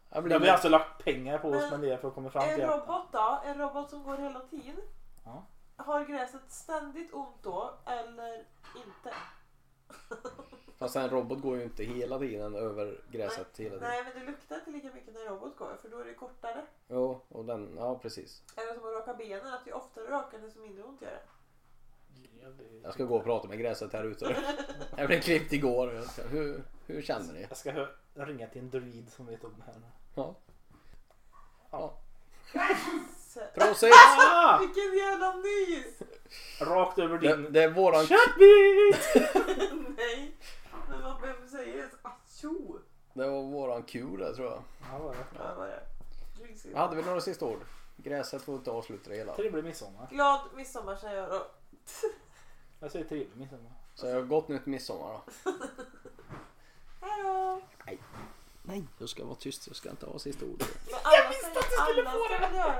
[SPEAKER 3] Jag
[SPEAKER 2] De
[SPEAKER 3] blir
[SPEAKER 2] har alltså lagt pengar på att
[SPEAKER 1] Men-
[SPEAKER 2] spendera för att komma fram till
[SPEAKER 1] En
[SPEAKER 2] det.
[SPEAKER 1] robot då? En robot som går hela tiden?
[SPEAKER 2] Ja.
[SPEAKER 1] Har gräset ständigt ont då eller inte?
[SPEAKER 3] Fast en robot går ju inte hela tiden över gräset hela tiden.
[SPEAKER 1] Nej men det luktar inte lika mycket när en robot går för då är det kortare.
[SPEAKER 3] Jo, och den, ja precis.
[SPEAKER 1] Eller som att raka benen, att ju oftare rakar desto mindre ont gör det.
[SPEAKER 3] Jag ska gå och prata med gräset här ute. Jag blev klippt igår. Jag ska- Hur, hur känner ni?
[SPEAKER 2] Jag ska hö- ringa till en druid som vet om det här nu.
[SPEAKER 3] Ja.
[SPEAKER 1] Så,
[SPEAKER 3] Prosit!
[SPEAKER 2] Ah!
[SPEAKER 1] vilken jävla nys!
[SPEAKER 2] Rakt över
[SPEAKER 3] Det,
[SPEAKER 2] din...
[SPEAKER 3] det är våran...
[SPEAKER 2] Shut me!
[SPEAKER 1] Nej, men vad vem säger ens Ah, atjo?
[SPEAKER 3] Det var våran kur där tror jag.
[SPEAKER 2] Ja, vad är det?
[SPEAKER 1] Ja, vad är det?
[SPEAKER 3] Hade vi några sista ord? Gräset får inte avsluta det hela.
[SPEAKER 2] Trevlig midsommar.
[SPEAKER 1] Glad midsommar säger jag då.
[SPEAKER 2] Jag säger trevlig midsommar.
[SPEAKER 3] Så jag har gått nytt midsommar då.
[SPEAKER 1] Hejdå!
[SPEAKER 3] Nej, jag ska vara tyst. Jag ska inte ha sista ordet.
[SPEAKER 1] Jag visste att du skulle få det! Alla ska väl göra